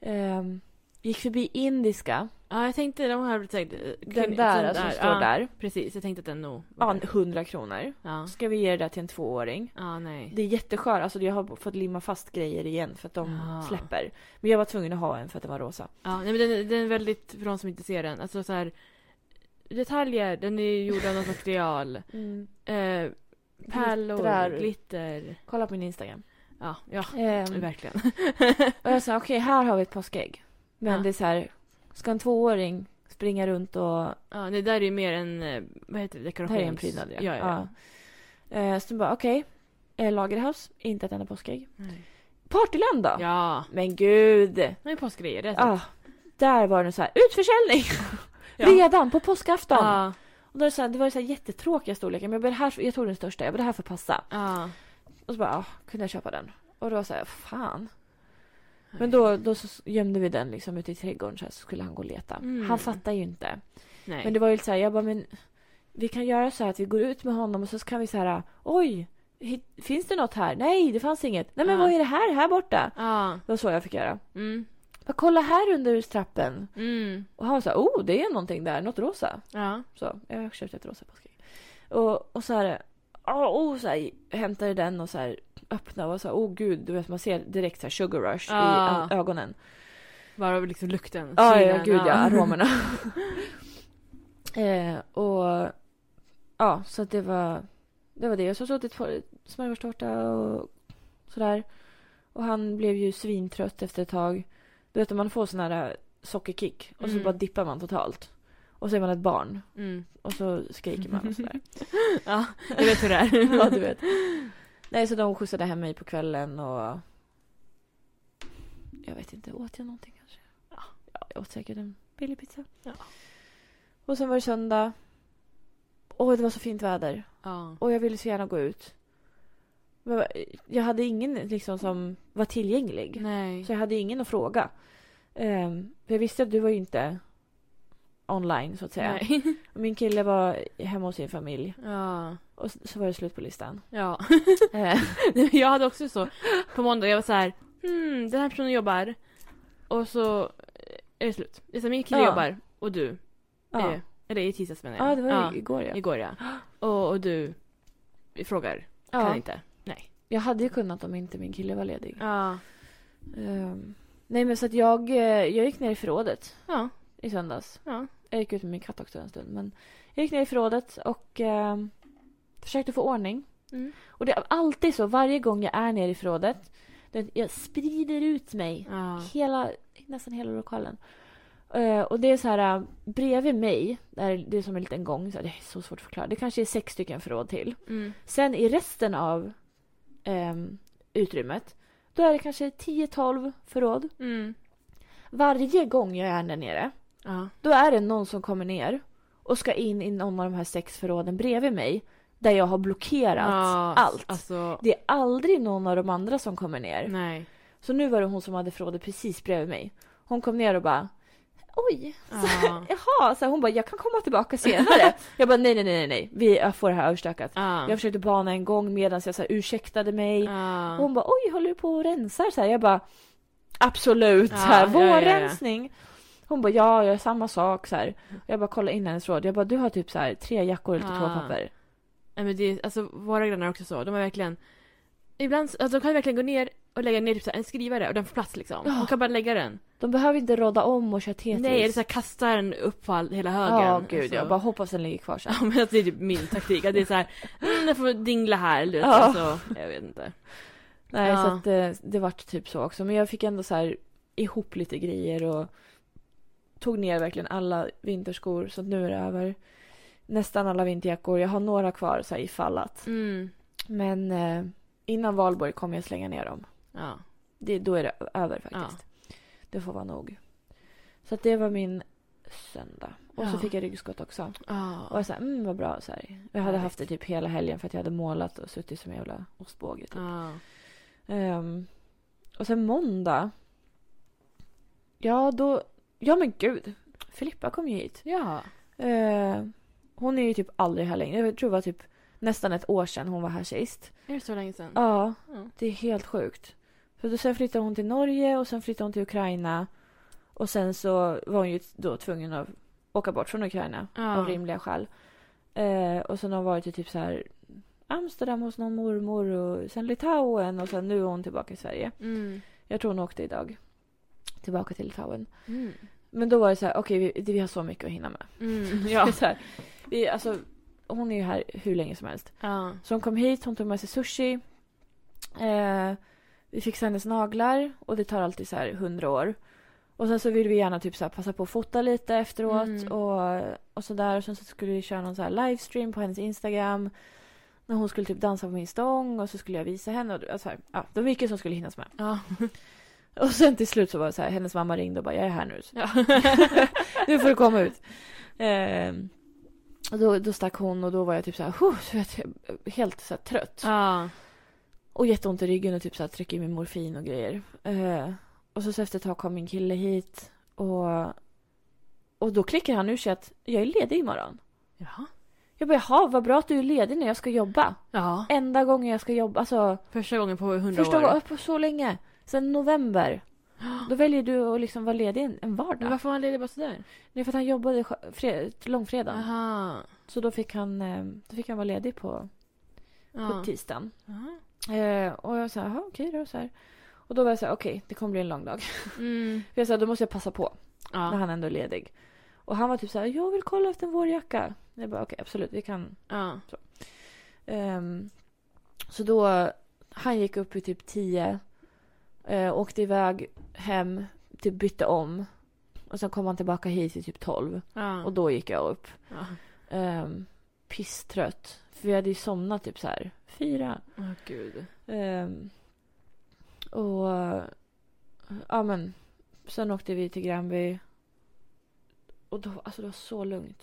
Speaker 1: Ehm, gick förbi Indiska.
Speaker 2: Ja, jag tänkte de här säkert...
Speaker 1: Den där alltså, som står
Speaker 2: ja,
Speaker 1: där.
Speaker 2: Precis, jag tänkte att den nog... var
Speaker 1: Ja,
Speaker 2: där.
Speaker 1: 100 kronor.
Speaker 2: ja.
Speaker 1: Ska vi ge det där till en tvååring?
Speaker 2: Ja, nej.
Speaker 1: Det är jätteskör, alltså jag har fått limma fast grejer igen för att de
Speaker 2: Ah.
Speaker 1: släpper. Men jag var tvungen att ha en för att den var rosa.
Speaker 2: Ja, nej men den, den är väldigt, för de som inte ser den, alltså så här... Detaljer, den är gjord av något material.
Speaker 1: Mm.
Speaker 2: Eh, pärlor,
Speaker 1: Glittrar.
Speaker 2: glitter.
Speaker 1: Kolla på min Instagram.
Speaker 2: Ja, ja.
Speaker 1: Ehm,
Speaker 2: Verkligen.
Speaker 1: och jag sa okej, här har vi ett påskägg. Men
Speaker 2: Ja.
Speaker 1: det är så här, ska en tvååring springa runt och...
Speaker 2: Ja, det där är ju mer en, eh, vad heter det,
Speaker 1: Det
Speaker 2: dekorations...
Speaker 1: här är en prydnad
Speaker 2: ja. ja, ja.
Speaker 1: Ja. Eh, Så de bara okej, eh, Lagerhaus, inte ett enda påskägg.
Speaker 2: Nej.
Speaker 1: Partyland då?
Speaker 2: Ja,
Speaker 1: Men gud!
Speaker 2: det är påskgrejer. Det är
Speaker 1: Ah, där var det så här, utförsäljning!
Speaker 2: Ja.
Speaker 1: Redan på påskafton!
Speaker 2: Ja,
Speaker 1: Och då är det, så här, det var ju så här jättetråkiga storlekar men jag, bara, det här, jag tog den största, jag bara det här får passa.
Speaker 2: ja.
Speaker 1: Och så bara, ah, kunde jag köpa den? Och då sa jag, fan. Men då, då så gömde vi den liksom ute i trädgården så, här, så skulle han gå och leta.
Speaker 2: Mm.
Speaker 1: Han fattar ju inte.
Speaker 2: Nej.
Speaker 1: Men det var ju lite så här, jag bara, men vi kan göra så här att vi går ut med honom och så kan vi så här, oj, hit, finns det något här? Nej, det fanns inget. Nej, men
Speaker 2: Ah.
Speaker 1: vad är det här, här borta?
Speaker 2: Ja.
Speaker 1: Det var så jag fick göra.
Speaker 2: Mm.
Speaker 1: Bara, kolla här under trappen.
Speaker 2: Mm.
Speaker 1: Och han var så här, oh, det är någonting där, något rosa.
Speaker 2: Ja.
Speaker 1: Så jag köpte ett rosa påskägg. Och, och så här, åh, oh, så här, hämtade den och så här öppnade och så här, oh gud, du vet man ser direkt så här sugar rush
Speaker 2: Ja.
Speaker 1: i ö- ögonen.
Speaker 2: Bara liksom lukten.
Speaker 1: Ja, ja,
Speaker 2: synen,
Speaker 1: gud ja, aromerna. eh, och ja, så att det var det var det. Jag så åt ett smörgåstårta och sådär. Och han blev ju svintrött efter ett tag. Du vet om man får sån här eh, sockerkick och så
Speaker 2: Mm.
Speaker 1: bara dippar man totalt. Och så är man ett barn
Speaker 2: Mm.
Speaker 1: och så skriker man och sådär.
Speaker 2: Ja, jag vet hur det är.
Speaker 1: ja, du vet. Nej, så de skjutsade hem mig på kvällen och... Jag vet inte, åt jag någonting kanske? Ja, jag åt säkert en billig pizza.
Speaker 2: Ja.
Speaker 1: Och sen var det söndag. Åh, det var så fint väder.
Speaker 2: Ja.
Speaker 1: Och jag ville så gärna gå ut. Men jag hade ingen liksom som var tillgänglig.
Speaker 2: Nej.
Speaker 1: Så jag hade ingen att fråga. Ehm, för jag visste att du var ju inte online så att säga.
Speaker 2: Nej.
Speaker 1: Och min kille var hemma hos sin familj.
Speaker 2: Ja.
Speaker 1: Och s- så var det slut på listan.
Speaker 2: Ja.
Speaker 1: Eh,
Speaker 2: Nej, men Jag hade också så på måndag, jag var så här, hmm, den här personen jobbar. Och så eh, är det slut. Det är så här, min kille
Speaker 1: Ja.
Speaker 2: jobbar och du.
Speaker 1: ja.
Speaker 2: Eh, Eller i tisdags menar jag.
Speaker 1: Ja, det var ju igår ja.
Speaker 2: igår ja. Och, och du frågar, kan inte.
Speaker 1: Jag hade ju kunnat om inte min kille var ledig.
Speaker 2: Ja.
Speaker 1: Ehm, nej men så att jag, eh, jag gick ner i förrådet
Speaker 2: Ja.
Speaker 1: i söndags.
Speaker 2: Ja.
Speaker 1: Jag gick ut med min katt också en stund. Men jag gick ner i förrådet och ehm, försökte få ordning.
Speaker 2: Mm.
Speaker 1: Och det är alltid så varje gång jag är nere i förrådet. det- Jag sprider ut mig
Speaker 2: Ja.
Speaker 1: hela, nästan hela lokalen. Eh, och det är så här, eh, bredvid mig, där det är som en liten gång, så här, det är så svårt att förklara. Det kanske är sex stycken förråd till.
Speaker 2: Mm.
Speaker 1: Sen i resten av ehm, utrymmet, då är det kanske 10-12 förråd.
Speaker 2: Mm.
Speaker 1: Varje gång jag är där nere,
Speaker 2: Ja.
Speaker 1: då är det någon som kommer ner och ska in i någon av de här sex förråden bredvid mig, där jag har blockerat
Speaker 2: Ja,
Speaker 1: allt.
Speaker 2: Alltså,
Speaker 1: Det är aldrig någon av de andra som kommer ner.
Speaker 2: nej.
Speaker 1: Så nu var det hon som hade förrådet precis bredvid mig. Hon kom ner och bara Oj,
Speaker 2: Ja.
Speaker 1: jaha, så hon bara jag kan komma tillbaka senare. jag bara nej, nej, nej, nej, nej, vi jag får det här överstökat.
Speaker 2: Ja.
Speaker 1: Jag försökte bana en gång medan jag så här, ursäktade mig.
Speaker 2: Ja.
Speaker 1: Och hon bara oj, håller du på och rensar? Så här, jag bara absolut,
Speaker 2: Ja,
Speaker 1: så här,
Speaker 2: ja,
Speaker 1: vår
Speaker 2: ja, ja.
Speaker 1: rensning. Hon bara ja, jag gör samma sak. Så här. Jag bara kolla in hennes råd. Jag bara du har typ så här, tre jackor och lite
Speaker 2: Ah.
Speaker 1: toapapper.
Speaker 2: Nej, men det är, alltså, våra grannar är också så. De är verkligen... Ibland alltså, de kan verkligen gå ner och lägga ner typ, så här, en skrivare och den får plats liksom.
Speaker 1: Ja.
Speaker 2: De kan bara lägga den.
Speaker 1: De behöver inte råda om och köra Tetris.
Speaker 2: Nej, eller så här, kasta den upp på all, hela högen.
Speaker 1: Ja, gud,
Speaker 2: alltså.
Speaker 1: jag bara hoppas den ligger kvar sen.
Speaker 2: Ja, men alltså, det är typ min taktik. Att det är så här, mm, den får dingla här. Du vet,
Speaker 1: Ja.
Speaker 2: alltså, jag vet inte.
Speaker 1: Nej,
Speaker 2: Ja.
Speaker 1: så att det, det vart typ så också. Men jag fick ändå så här ihop lite grejer och tog ner verkligen alla vinterskor. Så att nu är det över. Nästan alla vinterjackor. Jag har några kvar så här ifall att.
Speaker 2: Mm.
Speaker 1: Men eh, innan valborg kommer jag slänga ner dem.
Speaker 2: Ja.
Speaker 1: Det, då är det ö- över faktiskt. Det får vara nog. Så att det var min söndag. Och så
Speaker 2: Ja.
Speaker 1: fick jag ryggskott också. Och
Speaker 2: Ja.
Speaker 1: jag sa mm vad bra så här. Jag hade
Speaker 2: Härligt.
Speaker 1: haft det typ hela helgen för att jag hade målat och suttit som en jävla ostbåge typ.
Speaker 2: Ja.
Speaker 1: Ehm, och sen måndag. Ja, då... Ja, men gud. Filippa kom ju hit.
Speaker 2: Ja.
Speaker 1: Ehm, hon är ju typ aldrig här längre. Jag tror det var typ nästan ett år sedan hon var här sist.
Speaker 2: Är det så länge sedan?
Speaker 1: Ja,
Speaker 2: Ja.
Speaker 1: det är helt sjukt. För då sen flyttade hon till Norge och sen flyttade hon till Ukraina. Och sen så var hon ju då tvungen att åka bort från Ukraina
Speaker 2: Ja.
Speaker 1: av rimliga skäl. Eh, och sen har hon varit i typ så här Amsterdam hos någon mormor och sen Litauen och sen nu är hon tillbaka i Sverige.
Speaker 2: Mm.
Speaker 1: Jag tror hon åkte idag. Tillbaka till Litauen.
Speaker 2: Mm.
Speaker 1: Men då var det så här, okej vi, det- vi har så mycket att hinna med.
Speaker 2: Mm. Ja.
Speaker 1: så här, vi, alltså, hon är ju här hur länge som helst.
Speaker 2: ja.
Speaker 1: Så hon kom hit, hon tog med sig sushi. Eh, vi fixade hennes naglar och det tar alltid så här hundra år. Och sen så vill vi gärna typ så här passa på att fota lite efteråt
Speaker 2: Mm.
Speaker 1: och, och sådär. Och sen så skulle vi köra någon så här livestream på hennes Instagram. När hon skulle typ dansa på min stång och så skulle jag visa henne. Och, alltså, här, ja, det var mycket som skulle hinnas med.
Speaker 2: Ja.
Speaker 1: Och sen till slut så var det så här, hennes mamma ringde och bara jag är här nu. Så,
Speaker 2: Ja.
Speaker 1: nu får du komma ut. Ehm, och då, då stack hon och då var jag typ så här, "Huh", så vet jag, helt så här, trött.
Speaker 2: Ja.
Speaker 1: Och jätteont i ryggen och typ så här, trycker i mig morfin och grejer. Eh, och så, så efter ett tag kom min kille hit och, och då klickar han ur sig att jag är ledig imorgon.
Speaker 2: Jaha.
Speaker 1: Jag bara jaha, vad bra att du är ledig när jag ska jobba.
Speaker 2: Ja.
Speaker 1: Enda gången jag ska jobba, alltså
Speaker 2: Första gången på hundra
Speaker 1: första
Speaker 2: år.
Speaker 1: gången på så länge. Sen november. Då väljer du att liksom vara ledig en- en
Speaker 2: Men
Speaker 1: vardag.
Speaker 2: varför var han ledig bara sådär?
Speaker 1: Det är för att han jobbade sj- fre- långfredagen.
Speaker 2: Aha.
Speaker 1: Så då fick han, eh, då fick han vara ledig på, på
Speaker 2: Ja.
Speaker 1: tisdagen.
Speaker 2: Aha.
Speaker 1: Eh, och jag sa, jaha okej då. Så här. Och då var jag så här, okej det kommer bli en lång dag.
Speaker 2: Mm.
Speaker 1: För jag sa, då måste jag passa på när
Speaker 2: Ja.
Speaker 1: han ändå är ledig. Och han var typ så här, jag vill kolla efter en vårjacka. Jag bara, okej absolut vi kan.
Speaker 2: Ja.
Speaker 1: Ehm, så då, han gick upp i typ 10. Eh, åkte iväg hem, typ bytte om. Och sen kom han tillbaka hit i typ 12.
Speaker 2: Ja.
Speaker 1: Och då gick jag upp.
Speaker 2: Ja.
Speaker 1: Um, pisstrött. För vi hade ju somnat typ så här fyra.
Speaker 2: Åh gud.
Speaker 1: Ehm, och ja men. Sen åkte vi till Granby. Och då, alltså det var så lugnt.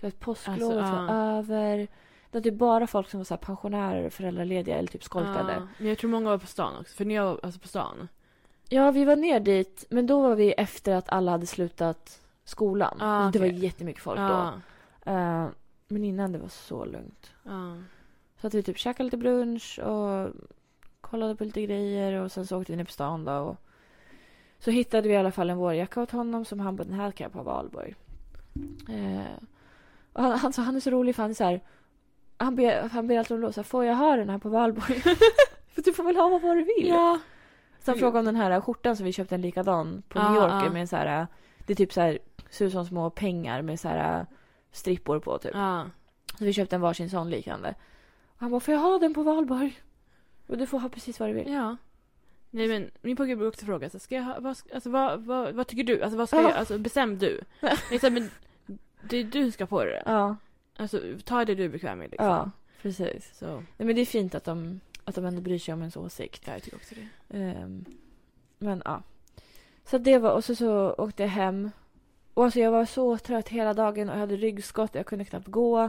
Speaker 1: Du vet påsklovet
Speaker 2: Alltså,
Speaker 1: var över. Det var typ bara folk som var så här pensionärer och föräldralediga eller typ skolkade.
Speaker 2: Ja. Men jag tror många var på stan också. För när jag var alltså på stan.
Speaker 1: Ja vi var ner dit men då var vi efter att alla hade slutat skolan.
Speaker 2: Ah,
Speaker 1: Det var
Speaker 2: okej.
Speaker 1: jättemycket folk då.
Speaker 2: Ja.
Speaker 1: Ehm, men innan det var så lugnt.
Speaker 2: Ja.
Speaker 1: Så att vi typ käkade lite brunch och kollade på lite grejer och sen så åkte vi ner på stan då och så hittade vi i alla fall en vårjacka åt honom som han bara den här kan jag ha på Valborg. Eh, och han, alltså, han, så han är så rolig för han är så här han ber, han ber alltid om lov så här, får jag ha den här på Valborg? för du får väl ha vad du vill.
Speaker 2: Ja.
Speaker 1: Så han frågade om den här skjortan som vi köpte en likadan på New
Speaker 2: Ja,
Speaker 1: Yorker
Speaker 2: ja.
Speaker 1: med en så här det är typ så här ser ut som små pengar med så här strippor på typ.
Speaker 2: Ja.
Speaker 1: Så vi köpte en varsin sån liknande. Och han bara, får jag ha den på valborg? Och du får ha precis vad du vill.
Speaker 2: Ja. Nej men min pojke brukar också fråga så här, ska jag ha, vad, ska- alltså, vad, vad, vad tycker du? Alltså vad ska
Speaker 1: Ja.
Speaker 2: jag, alltså bestäm du. Liksom, men det är du som ska få det.
Speaker 1: Ja,
Speaker 2: Alltså ta det du är bekväm med liksom.
Speaker 1: ja precis.
Speaker 2: Så,
Speaker 1: Nej, men det är fint att de, att de ändå bryr sig om ens åsikt.
Speaker 2: ja, jag tycker också det.
Speaker 1: Ehm, men ja. Så det var, och så, så åkte jag hem. Och alltså jag var så trött hela dagen och jag hade ryggskott och jag kunde knappt gå.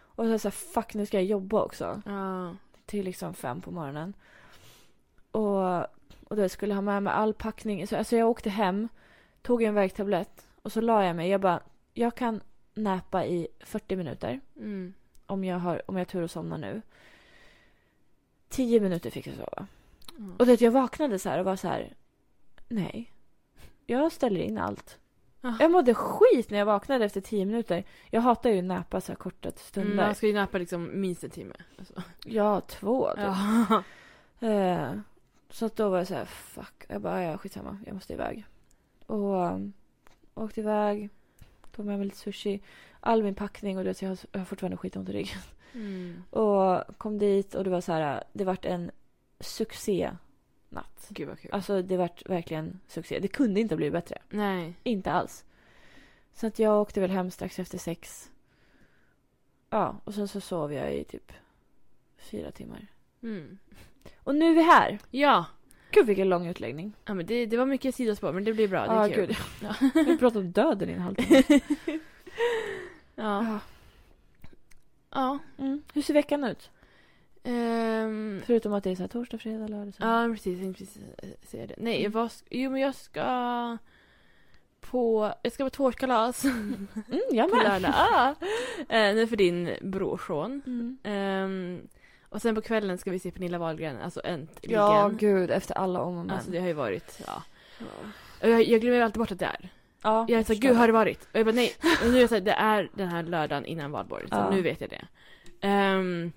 Speaker 1: Och så sa fuck nu ska jag jobba också.
Speaker 2: Ja.
Speaker 1: Till liksom fem på morgonen. Och, och då skulle jag ha med mig all packning. Så, alltså jag åkte hem, tog en värktablett och så la jag mig. Jag bara, jag kan näpa i 40 minuter
Speaker 2: Mm.
Speaker 1: om jag har, om jag har tur och somnar nu. 10 minuter fick jag sova.
Speaker 2: Ja.
Speaker 1: Och det, jag vaknade så här och var så här, nej. Jag ställer in allt.
Speaker 2: Ah.
Speaker 1: Jag mådde skit när jag vaknade efter 10 minuter. Jag hatar ju att näpa så här korta stunder.
Speaker 2: Mm, man ska ju nappa liksom minst en timme. Alltså.
Speaker 1: Ja, två. typ.
Speaker 2: Ja.
Speaker 1: Eh, så att då var jag så här, fuck. Jag bara, ja, skitsamma. Jag måste iväg. Och um, åkte iväg. Tog med mig lite sushi. All min packning och du vet, jag har, jag har fortfarande skitont i ryggen.
Speaker 2: Mm.
Speaker 1: Och kom dit och det var så här, det vart en succé-natt.
Speaker 2: Gud vad kul.
Speaker 1: Alltså det vart verkligen succé. Det kunde inte bli bättre.
Speaker 2: Nej.
Speaker 1: Inte alls. Så att jag åkte väl hem strax efter sex. Ja, och sen så sov jag i typ fyra timmar.
Speaker 2: Mm.
Speaker 1: Och nu är vi här!
Speaker 2: Ja.
Speaker 1: Gud vilken lång utläggning.
Speaker 2: ja men det, det var mycket sidospår men det blir bra. Det är
Speaker 1: Ja,
Speaker 2: kul.
Speaker 1: gud.
Speaker 2: Ja.
Speaker 1: Vi pratar om döden i en halvtimme.
Speaker 2: Ja. ja.
Speaker 1: Mm. Hur ser veckan ut?
Speaker 2: Ehm,
Speaker 1: Förutom att det är så här torsdag, fredag, lördag. Så.
Speaker 2: Ja, precis. Jag tänkte precis säga det. Nej,
Speaker 1: Mm.
Speaker 2: jag var, jo, men jag ska på... Jag ska på tårtkalas
Speaker 1: Mm, jag
Speaker 2: på
Speaker 1: med.
Speaker 2: lördag. Ah, eh, nej, för din brorson.
Speaker 1: Mm.
Speaker 2: Ehm, och sen på kvällen ska vi se Pernilla Wahlgren, alltså äntligen.
Speaker 1: Ja, gud. Efter alla om och men.
Speaker 2: Alltså det har ju varit, ja. Och Jag, jag glömmer alltid bort att det är.
Speaker 1: ja,
Speaker 2: Jag är såhär,
Speaker 1: förstår
Speaker 2: gud
Speaker 1: det.
Speaker 2: har det varit? Och jag bara nej. Och nu är jag såhär, det är den här lördagen innan valborg. Så
Speaker 1: Ja.
Speaker 2: nu vet jag det. Ehm,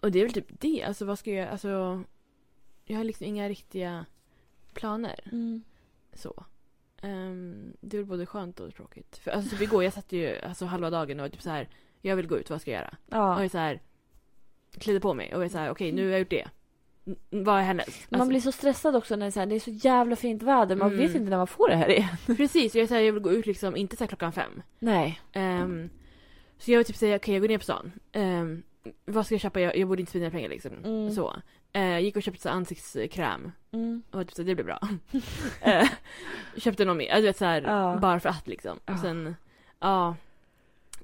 Speaker 2: och det är väl typ det. Alltså vad ska jag, alltså. Jag har liksom inga riktiga planer.
Speaker 1: Mm.
Speaker 2: så. Ehm, det är väl både skönt och tråkigt. För alltså, typ igår jag satt ju alltså, halva dagen och var typ så här. jag vill gå ut, vad ska jag göra?
Speaker 1: Ja.
Speaker 2: Och jag så här, klädde på mig och jag så här, okej nu har jag gjort det. N- vad är hennes? Alltså,
Speaker 1: man blir så stressad också när det är så, här, det är så jävla fint väder. Man
Speaker 2: Mm.
Speaker 1: vet inte när man får det här igen.
Speaker 2: Precis, jag, är så här, jag vill gå ut liksom, inte så här klockan fem.
Speaker 1: Nej.
Speaker 2: Ehm, så jag vill typ säga, okej jag går ner på stan. Ehm, vad ska jag köpa? Jag, jag borde inte spendera pengar liksom.
Speaker 1: Mm.
Speaker 2: Så. Eh, gick och köpte så här, ansiktskräm.
Speaker 1: Mm.
Speaker 2: Och jag typ så här, det blev bra. Eh, köpte någon mer, Ja, du vet såhär
Speaker 1: Ja.
Speaker 2: bara för att liksom.
Speaker 1: Ja.
Speaker 2: Och sen, ja.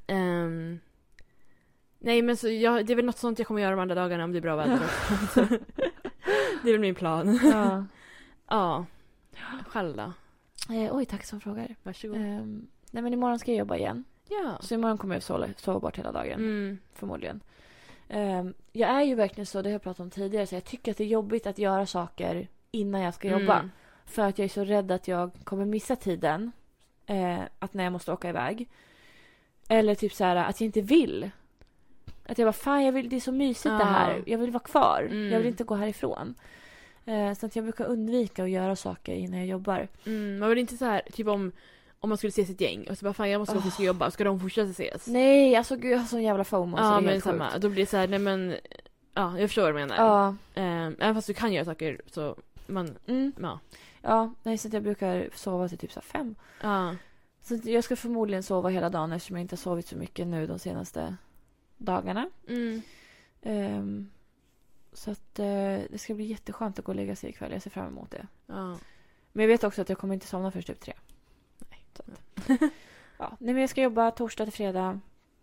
Speaker 2: Ehm, nej men så jag, det är väl något sånt jag kommer göra de andra dagarna om det är bra väder. också. Det är väl min plan.
Speaker 1: Ja.
Speaker 2: Ja. Själv då?
Speaker 1: Eh, oj, tack som frågar.
Speaker 2: Varsågod.
Speaker 1: Ehm, nej men imorgon ska jag jobba igen.
Speaker 2: Ja.
Speaker 1: Så imorgon kommer jag sova, sova bort hela dagen.
Speaker 2: Mm.
Speaker 1: Förmodligen. Ehm, jag är ju verkligen så, det har jag pratat om tidigare, så jag tycker att det är jobbigt att göra saker innan jag ska jobba.
Speaker 2: Mm.
Speaker 1: För att jag är så rädd att jag kommer missa tiden. Eh, att när jag måste åka iväg. Eller typ så här att jag inte vill. Att jag bara fan jag vill, det är så mysigt det här.
Speaker 2: Ja.
Speaker 1: Jag vill vara kvar.
Speaker 2: Mm.
Speaker 1: Jag vill inte gå härifrån. Eh, så att jag brukar undvika att göra saker innan jag jobbar.
Speaker 2: Mm, man vill inte så här, typ om, om man skulle ses ett gäng och så bara fan jag måste gå för jag ska jobba, ska de fortsätta ses?
Speaker 1: Ah." Nej alltså gud jag har sån jävla fomo. så det
Speaker 2: ja
Speaker 1: är
Speaker 2: men
Speaker 1: helt
Speaker 2: samma,
Speaker 1: sjukt.
Speaker 2: då blir det så här, nej men ja jag förstår vad du menar.
Speaker 1: Ja.
Speaker 2: Ehm, även fast du kan göra saker så man,
Speaker 1: Mm,
Speaker 2: ja.
Speaker 1: ja. Nej så att jag brukar sova till typ så här fem.
Speaker 2: ja.
Speaker 1: Så att jag ska förmodligen sova hela dagen eftersom jag inte har sovit så mycket nu de senaste dagarna.
Speaker 2: Mm.
Speaker 1: Ehm, så att eh, det ska bli jätteskönt att gå och lägga sig ikväll. Jag ser fram emot det.
Speaker 2: Ja.
Speaker 1: Men jag vet också att jag kommer inte somna först typ tre.
Speaker 2: Nej.
Speaker 1: Så att, ja. Nej, men jag ska jobba torsdag till fredag.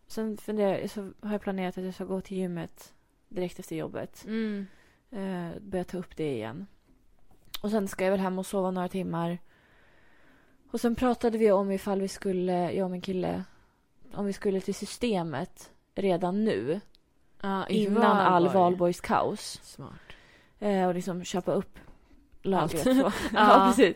Speaker 1: Sen funderar, jag- så har jag planerat att jag ska gå till gymmet direkt efter jobbet.
Speaker 2: Mm.
Speaker 1: Eh, börja ta upp det igen. Och sen ska jag väl hem och sova några timmar. Och sen pratade vi om ifall vi skulle, jag och min kille, om vi skulle till systemet redan nu.
Speaker 2: Ja, inför
Speaker 1: Innan all
Speaker 2: valborg.
Speaker 1: valborgskaos.
Speaker 2: Smart.
Speaker 1: Eh, och liksom köpa upp lagret.
Speaker 2: Allt.
Speaker 1: Så. ja, precis.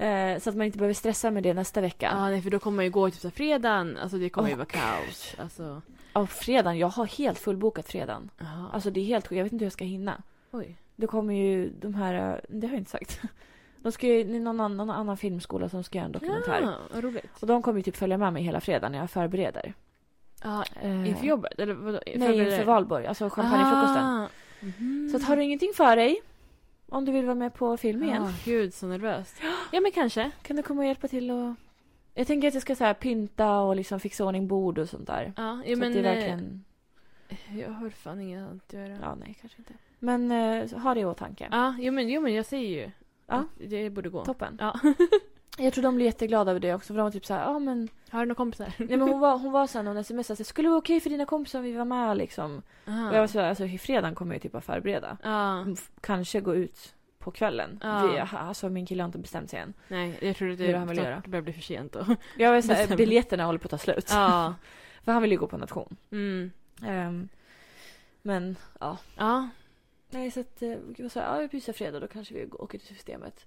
Speaker 1: Eh, så att man inte behöver stressa med det nästa vecka.
Speaker 2: Ja nej för då kommer man ju gå typ så här, fredagen, alltså det kommer ju
Speaker 1: Åh,
Speaker 2: vara kaos. Alltså,
Speaker 1: Ja, fredagen. Jag har helt fullbokat fredagen.
Speaker 2: ja.
Speaker 1: Alltså det är helt sjukt. Jag vet inte hur jag ska hinna.
Speaker 2: oj.
Speaker 1: Det kommer ju de här... eh, Det har jag inte sagt. De ska ju... det är Någon annan, någon annan filmskola som ska göra en dokumentär.
Speaker 2: Ja, vad roligt.
Speaker 1: Och de kommer ju typ följa med mig hela fredagen när jag förbereder.
Speaker 2: Ja,
Speaker 1: Eh,
Speaker 2: inför jobbet eller vadå?
Speaker 1: Nej, inför valborg. Alltså champagnefrukosten.
Speaker 2: Ah.
Speaker 1: Så att, har du ingenting för dig om du vill vara med på film igen
Speaker 2: Ah, gud så nervöst. Ja men kanske.
Speaker 1: kan du komma och hjälpa till och... Jag tänker att jag ska så här, pynta och liksom fixa ordning bord och sånt där.
Speaker 2: Ja, ja
Speaker 1: så
Speaker 2: men
Speaker 1: att det är
Speaker 2: eh,
Speaker 1: verkligen...
Speaker 2: jag har fan inget annat att göra. Ja,
Speaker 1: Ja, nej, kanske inte. Men eh, så ha det i åtanke.
Speaker 2: jo, men, jo men jag säger ju
Speaker 1: Ja.
Speaker 2: att det borde gå.
Speaker 1: Toppen.
Speaker 2: Ja.
Speaker 1: Jag tror de blir jätteglada över det också för de var typ såhär, ja men...
Speaker 2: Har du några kompisar?
Speaker 1: Nej men hon var, hon var såhär när hon smsade, så här, skulle det vara okej för dina kompisar om vi var med liksom? Och jag var såhär, alltså i fredagen kommer jag typ att förbereda.
Speaker 2: Ja,
Speaker 1: F- Kanske gå ut på kvällen.
Speaker 2: Ja.
Speaker 1: Vi, alltså min kille har inte bestämt sig än.
Speaker 2: nej jag tror att det,
Speaker 1: Hur han vill
Speaker 2: snart
Speaker 1: göra.
Speaker 2: börjar bli för sent då.
Speaker 1: Jag var såhär,
Speaker 2: Bestämt.
Speaker 1: biljetterna håller på att ta slut.
Speaker 2: Ja.
Speaker 1: För han vill ju gå på nation.
Speaker 2: Mm.
Speaker 1: Ehm, men ja.
Speaker 2: Ja.
Speaker 1: Nej så att, eh, jag var såhär, ja pysa fredag då kanske vi åker till systemet.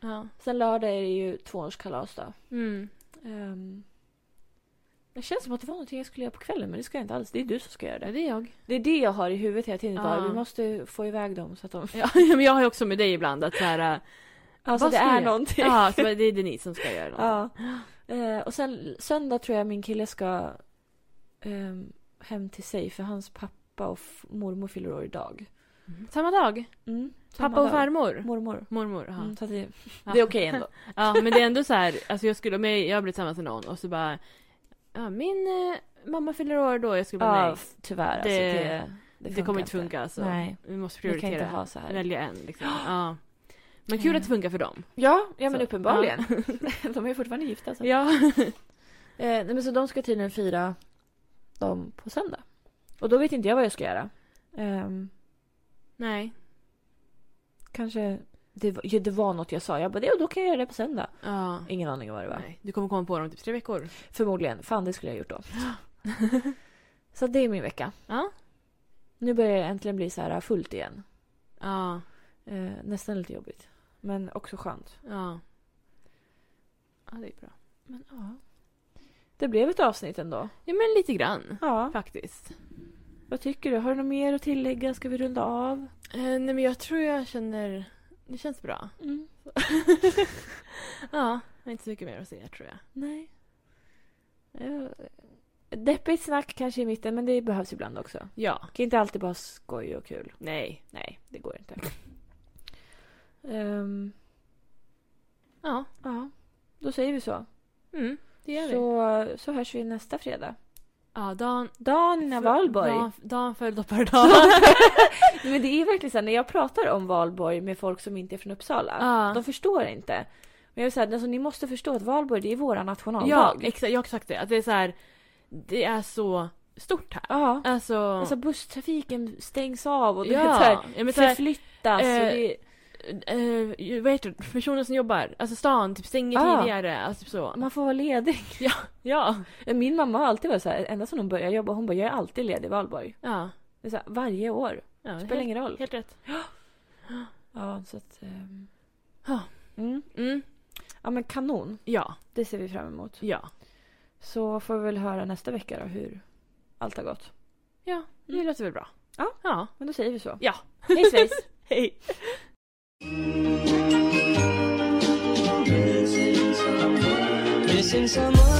Speaker 2: Ja.
Speaker 1: Sen lördag är det ju tvåårskalas då.
Speaker 2: Mm.
Speaker 1: Ehm, det känns som att det var någonting jag skulle göra på kvällen men det ska jag inte alls. Det är du som ska göra
Speaker 2: Ja,
Speaker 1: det.
Speaker 2: det är jag.
Speaker 1: Det är det jag har i huvudet hela tiden. Bara,
Speaker 2: Ja.
Speaker 1: Vi måste få iväg dem så att de...
Speaker 2: Ja, men jag har ju också med dig ibland att så här, äh,
Speaker 1: Alltså
Speaker 2: vad
Speaker 1: det
Speaker 2: ska
Speaker 1: är
Speaker 2: jag-
Speaker 1: någonting.
Speaker 2: ja, så det är Denise som ska göra något.
Speaker 1: Ja. Eh, och sen söndag tror jag min kille ska ehm, hem till sig för hans pappa och f- mormor fyller år idag.
Speaker 2: Mm. Samma dag?
Speaker 1: Mm, samma
Speaker 2: Pappa och
Speaker 1: dag.
Speaker 2: farmor?
Speaker 1: Mormor.
Speaker 2: Mormor, ja.
Speaker 1: Mm, så att det,
Speaker 2: Ja.
Speaker 1: det är okej ändå.
Speaker 2: Ja men det är ändå så här, alltså jag skulle, om jag, jag blir tillsammans med någon och så bara Ja min eh, mamma fyller år då, jag skulle bara
Speaker 1: Ja,
Speaker 2: nej.
Speaker 1: f- tyvärr. Alltså,
Speaker 2: Det-
Speaker 1: det,
Speaker 2: Det, kommer inte funka alltså.
Speaker 1: Nej,
Speaker 2: Vi måste
Speaker 1: vi kan
Speaker 2: prioritera.
Speaker 1: inte ha så här.
Speaker 2: Välja en liksom. Ja. Men kul att det funkar för dem.
Speaker 1: Ja, ja men
Speaker 2: Så.
Speaker 1: uppenbarligen. de är ju fortfarande gifta. Så.
Speaker 2: Ja.
Speaker 1: Eh, nej, men så de ska tydligen fira dem på söndag. Och då vet inte jag vad jag ska göra. Ehm,
Speaker 2: Nej.
Speaker 1: kanske... Det, var- ja, det var något jag sa. Jag bara, det, och då kan jag göra det på söndag.
Speaker 2: Ja.
Speaker 1: Ingen aning om vad det var.
Speaker 2: Nej. Du kommer komma på dem om typ tre veckor.
Speaker 1: Förmodligen. Fan, det skulle jag ha gjort då. så det är min vecka.
Speaker 2: Ja.
Speaker 1: Nu börjar det äntligen bli så här fullt igen.
Speaker 2: Ja.
Speaker 1: Eh, nästan lite jobbigt. Men också skönt.
Speaker 2: Ja. Ja det är bra.
Speaker 1: Men ja. Det blev ett avsnitt ändå.
Speaker 2: Ja men lite grann.
Speaker 1: Ja.
Speaker 2: Faktiskt.
Speaker 1: Vad tycker du? Har du något mer att tillägga? Ska vi runda av?
Speaker 2: Eh, nej men jag tror jag känner, det känns bra.
Speaker 1: Mm.
Speaker 2: Ja. Jag har inte så mycket mer att säga tror jag.
Speaker 1: Nej. Eh, Deppigt snack kanske i mitten, men det behövs ibland också.
Speaker 2: Ja.
Speaker 1: kan inte alltid bara skoj och kul.
Speaker 2: Nej.
Speaker 1: Nej, det går inte. Ehm,
Speaker 2: Ja.
Speaker 1: ja, då säger vi så.
Speaker 2: Mm. Det gör vi.
Speaker 1: Så, så hörs vi nästa fredag.
Speaker 2: Ja, dagen...
Speaker 1: Dagen innan valborg.
Speaker 2: Dagen, dagen före dopparedagen.
Speaker 1: Men det är verkligen så här, när jag pratar om valborg med folk som inte är från Uppsala.
Speaker 2: Ja.
Speaker 1: De förstår inte. Men jag vill säga, alltså, ni måste förstå att valborg det är vår
Speaker 2: ja,
Speaker 1: nationaldag.
Speaker 2: exakt. Jag har sagt det. Att det är så här... Det är så stort här.
Speaker 1: ja.
Speaker 2: Alltså...
Speaker 1: Alltså busstrafiken stängs av och det
Speaker 2: ja.
Speaker 1: är så här,
Speaker 2: ja, men så här,
Speaker 1: förflyttas. och
Speaker 2: eh,
Speaker 1: det,
Speaker 2: eh, vad heter det, personen som jobbar, alltså stan, typ stänger
Speaker 1: Ah.
Speaker 2: tidigare, alltså typ så.
Speaker 1: Man får vara ledig.
Speaker 2: Ja.
Speaker 1: Min mamma har alltid varit så här, ända sedan hon började jobba, hon bara jag är alltid ledig i valborg.
Speaker 2: Ja.
Speaker 1: Det är så här, varje år.
Speaker 2: ja
Speaker 1: Spelar
Speaker 2: helt,
Speaker 1: ingen roll.
Speaker 2: helt rätt.
Speaker 1: Ja, så att... ehm,
Speaker 2: Ja.
Speaker 1: Mm.
Speaker 2: Mm.
Speaker 1: Ja men kanon.
Speaker 2: Ja.
Speaker 1: Det ser vi fram emot.
Speaker 2: Ja.
Speaker 1: Så får vi väl höra nästa vecka då hur allt har gått.
Speaker 2: Ja, det
Speaker 1: Mm.
Speaker 2: låter väl bra.
Speaker 1: Ja.
Speaker 2: Ja.
Speaker 1: Men då säger vi så.
Speaker 2: Ja.
Speaker 1: Hej svejs!
Speaker 2: Hej.
Speaker 3: Missing someone. Missing someone.